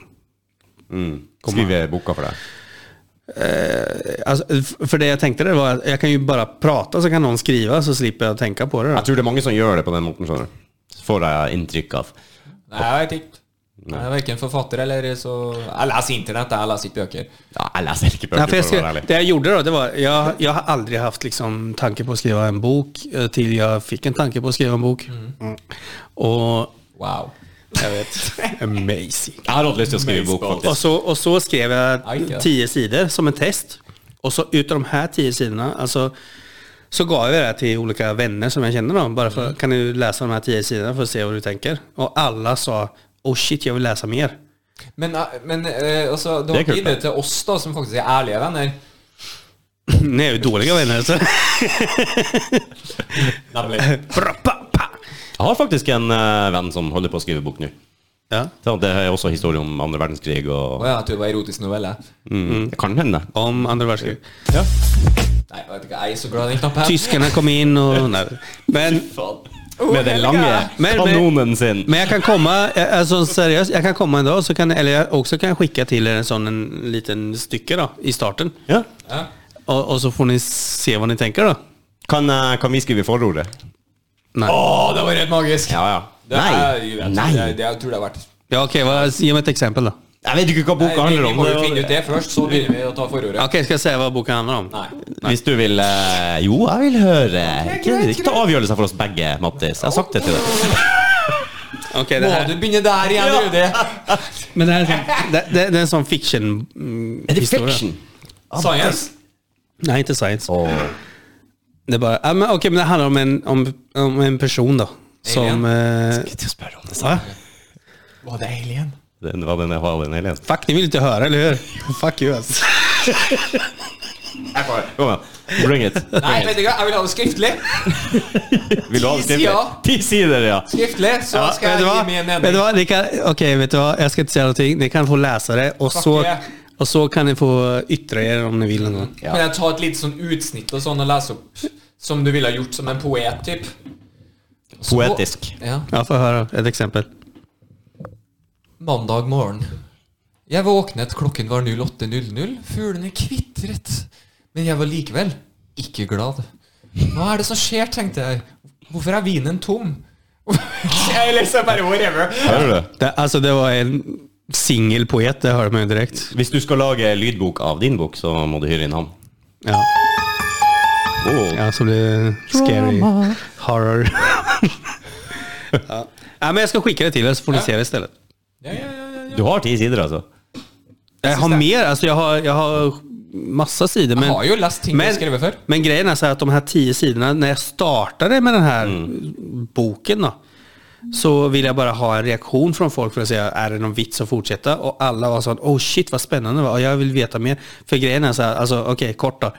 Skrive boka for deg. alltså, f- för det jag tänkte det var att jag kan ju bara prata så kan någon skriva så slipper jag tänka på det. Då. Jeg tror det er mange som gjør det på den måten, skjønner du. Så får jeg inntrykk av. Nei, jeg vet ikke. Jeg er verken forfatter eller så alltså, Jeg leser internett, jeg leser ikke bøker. Ja, jeg leser ikke Nej, bøker, för jag for å skrev, være ærlig. det jag gjorde då, det var jag, jag har aldrig haft liksom, tanke på att skriva en bok eh, till jag fick en tanke på att skriva en bok. Mm. Och Wow. jag vet, amazing. Jeg har hatt lyst til å skrive bok, Och faktisk. så, och så skrev jag Aj, ja. tio sidor som en test. Och så utav de här tio sidorna, alltså, så gav jag det här till olika vänner som jag känner dem. Bara för, kan du läsa de här tio sidorna för att se vad du tänker? Och alla sa, oh shit, jeg vill läsa mer. Men, eh, men eh, altså, det Det var er kult, ikke ille da. til oss, da, som faktisk er ærlige venner. Ni är ju dåliga vänner. Så. Bra, pa, pa. Jeg har faktisk en eh, venn som holder på å skrive bok nå. Ja. Så Det er også historie om andre verdenskrig Å og ja, jeg tror det var erotisk novelle. mm, Det kan hende. Om andra världskriget. Nei, jeg vet ikke, jeg er så glad i den knappen. Tyskarna kom in och... Nej. Men, Med Oh, den lange Men- kanonen sin. men jag kan komma, eh, alltså seriöst, jag kan komma en dag så kan, eller jag också kan skicka till er en sån en liten stycke då, i starten. Ja. Ja. Och, och så får ni se vad ni tänker då. Kan, eh, kan vi skrive forordet? Nej. Å, det var helt magisk! Ja, ja. Det er, jeg Nei. vet, Nei. Jeg, det, jeg tror det har vært Ja, okej, vad, ge mig ett exempel då. Jeg vet ikke hva Nei, boka vi, handler vi om. må Det jo var- finne ut det først, så begynner vi å ta forordet. Okej, ska jag säga vad boken handlar om? Nei. Hvis du vil eh, Jo, jeg vil høre. Ikke, ikke ta avgjørelser for oss begge, Mattis. Jeg har sagt det til deg. Okej, det Må du här, begynne der igjen, Rudi? men det, här är som, det, det, det är en sånn fiction mm, Er det historia. fiction? Science? Nej, inte science. Åh. Det är bara, ja, men, okej, men det handlar om en, om, om en person då. Som... Eh, Skal ikke spørre om det sa jeg. Var det alien? Den var den jeg har, den alien. fuck, ni vill inte höra, eller hur? Fuck you alltså. Kom igjen. Bring it. Nei, vet du hva, jeg vil ha det skriftlig. Vil du ha det Ti skriftlig? sider. Ti sider, ja. Skriftlig, så Ja, skal vet du jeg vad? gi min Vet du mening. vad? Ni kan, okej, vet du vad? Jag ska inte säga någonting. Ni kan få läsa det och, Fuck så, yeah. och så kan ni få yttra er om ni vill någon gång. Ja. Men jeg tar et lite sånn utsnitt og sånn og leser opp som du ville ha gjort som en poet, typ. Så- Poetisk. Ja. Jag får höra ett exempel. Mandag morgen. Jeg våknet, klokken var 08.00. Fuglene kvitret. Men jeg var likevel ikke glad. Hva er det som skjer, tenkte jeg. Hvorfor er vinen tom? jeg leser bare whatever. Hører du? Det, alltså det var en singelpoet, det hörde man ju direkt. Hvis du skal lage lydbok av din bok, så må du hyre inn han. Ja, Oh. ja som blir scary horror. ja. ja, men jag ska skicka det till er så får ni se det istället. Ja, ja, ja, ja, ja. Du har alltså. ti sider, altså? Jag har mer, alltså jag har, jag har massa sidor. Men, Jeg har jo lest ting men- jeg har skrevet før. Men grejen är så här att de här tio sidorna, när jag startade med den här Mm. boken då, så ville jag bara ha en reaktion från folk för att säga, är det någon vits att fortsätta? Och alla var sån, oh shit vad spännande det var, och jag vill veta mer. För grejen är så här, alltså okej, kort då.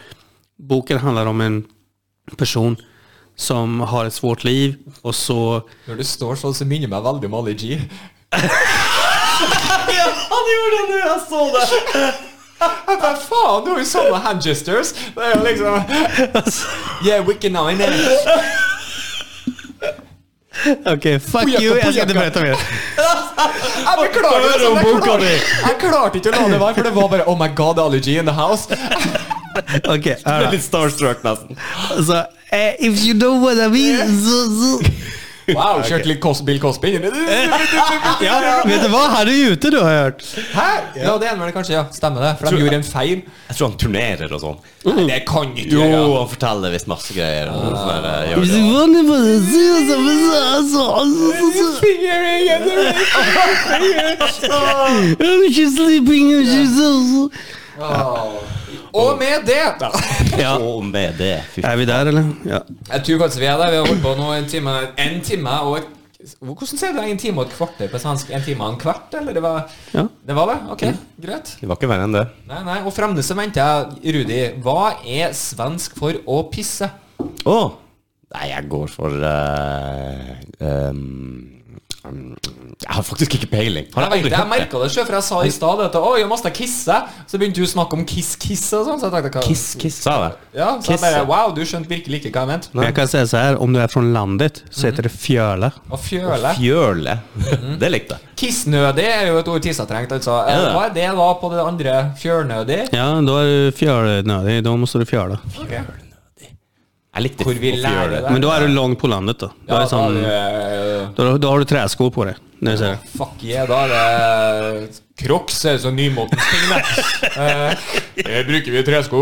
Boken handlar om en person som har ett svårt liv och så Når du står sånn, så minner meg veldig om Ali G. ja, han gjorde det nå, jeg så det! Jeg bare, faen, du har jo samme handgestures. Det er jo liksom Yeah, Wiki 9. eh. Okej, fuck Pojaka, you, jag ska pojaka. inte berätta mer. Jeg beklager, Hør altså, om jeg boka klarte- di. jeg klarte ikke å la det være, for det var bare Oh my god, Ali G in the house. Okej, Det all er right. litt starstruck, nesten. så, eh, if you know what I mean, så, så. Wow, kjørte litt Cos Bill Cosby. Ja, vet du vad, han er ute du har jeg hørt. Hæ? Ja, det ene var det kanskje, ja. Stemmer det. For de gjorde en feil. Jeg tror han turnerer og sånn. Nei, det kan ikke Jo, gjøre. han forteller visst masse greier. Og sånn der, eh, gjør det. And she's sleeping and she's Og med det da. Ja. Og med det, fy Er vi der, eller? Ja. Jeg tror faktisk vi er der. Vi har holdt på nå en time, en time og et hvordan sier du det? En time og et kvarter på svensk? En time og en kvart, eller? Det var Ja. det? Var det? Ok, greit. Det var ikke verre enn det. Nei, nei, og fremdeles så venter jeg, Rudi, hva er svensk for å pisse? Å! Nei, jeg går for eh, um, um, Jeg har faktisk ikke peiling. Har Jeg vet jeg det, aldri jeg hørt det? merket det selv, for jeg sa i stad at Å, jeg måtte kisse. Så begynte du å snakke om kiss-kiss og sånn, så jeg tenkte hva Kiss, kiss, sa jeg det? Ja, så jeg Kisse. bare Wow, du skjønte virkelig ikke hva jeg mente. Men jeg kan si så her, om du er fra landet, så heter det fjöla. Å fjøle. Fjøle. det likte jeg. Kissnødig er jo et ord tissa trengte, altså. Er det det? Hva er det da på det andre? Fjørnødig? Ja, da er du fjölnödig, da måste du fjöla. Jeg likte Hvor vi å lærer fjøle. det. Men da er du langt på landet da. Da, Ja, er det sånn, da er det- eh, da, da har du träskor på deg. Når jeg sier det. Fuck yeah, da er det eh, Crocs er sånn nymotens ting, Eh, da. Det bruker vi i tresko.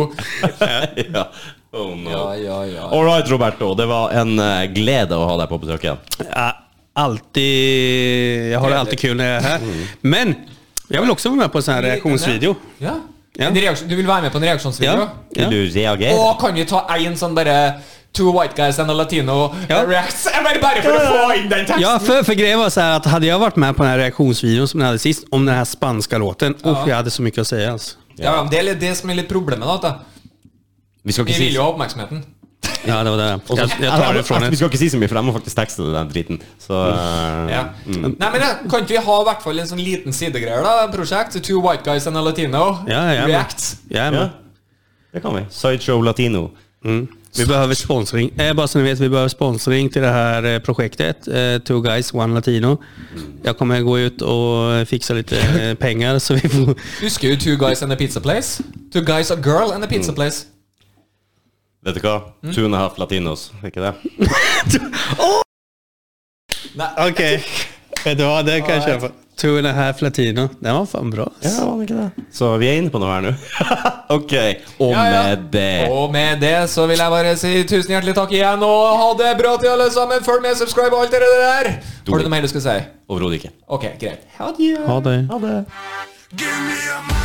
ja. Oh, no. Ja, ja, ja. All right, Roberto. Det var en eh, glede å ha deg på besøk igjen. Ja, alltid, jeg har det alltid kul når jeg er her. Men jeg vil også være med på en sånn her reaksjonsvideo. Ja. Ja. En reaksjon, du vil være med på en reaksjonsvideo? Ja, ja. Vil du reagere? Og kan vi ta en sånn bare Two white guys and a latino Ja. reacts? Jeg Bare, bare for å få inn den teksten! Ja, för, för grejen var så här att hade jag varit med på den här reaktionsvideon som ni hade sist om den här spanska låten, uff, jag hade så mycket att säga alltså. Ja, men Det er litt det som er litt problemet. da at Vi skal Vi ikke si vil jo ha oppmerksomheten. Ja, det var det. Jag, jag tar det från Alltså, Vi er. skal ikke si så mye, for jeg må faktisk tekste den driten. Så eh, Mm. Ja. Mm. Nei, men ja, Kan ikke vi ha i hvert fall en sånn liten sidegreier? da Prosjekt? Two white guys and a latino Ja, ja, men- reacts. Jag är ja, med. det kan vi. Sideshow Latino. Vi behöver sponsring. Eh, bara så ni vet, vi behöver sponsring till det här eh, projektet. Eh, two guys, one latino. Jag kommer gå ut och fixa lite eh, pengar så vi får... Husker du Two guys and a pizza place? Two guys a girl and a Mm. pizza place. Vet du hva? Two and a half latinos, ikke det? Nei, Okej. Vet du vad, det kan jag köpa. Two and a half latino. Den var fan bra. alltså. Ja, var det ikke det? Så vi er inne på noe her nå. ok. Og Ja, ja. med det Og med det så vil jeg bare si tusen hjertelig takk igjen, og ha det bra til alle sammen. Følg med, subscribe og alt det der. Har du noe mer du skal si? Overhodet ikke. Ok, greit. Ha det. Ha det. Give me a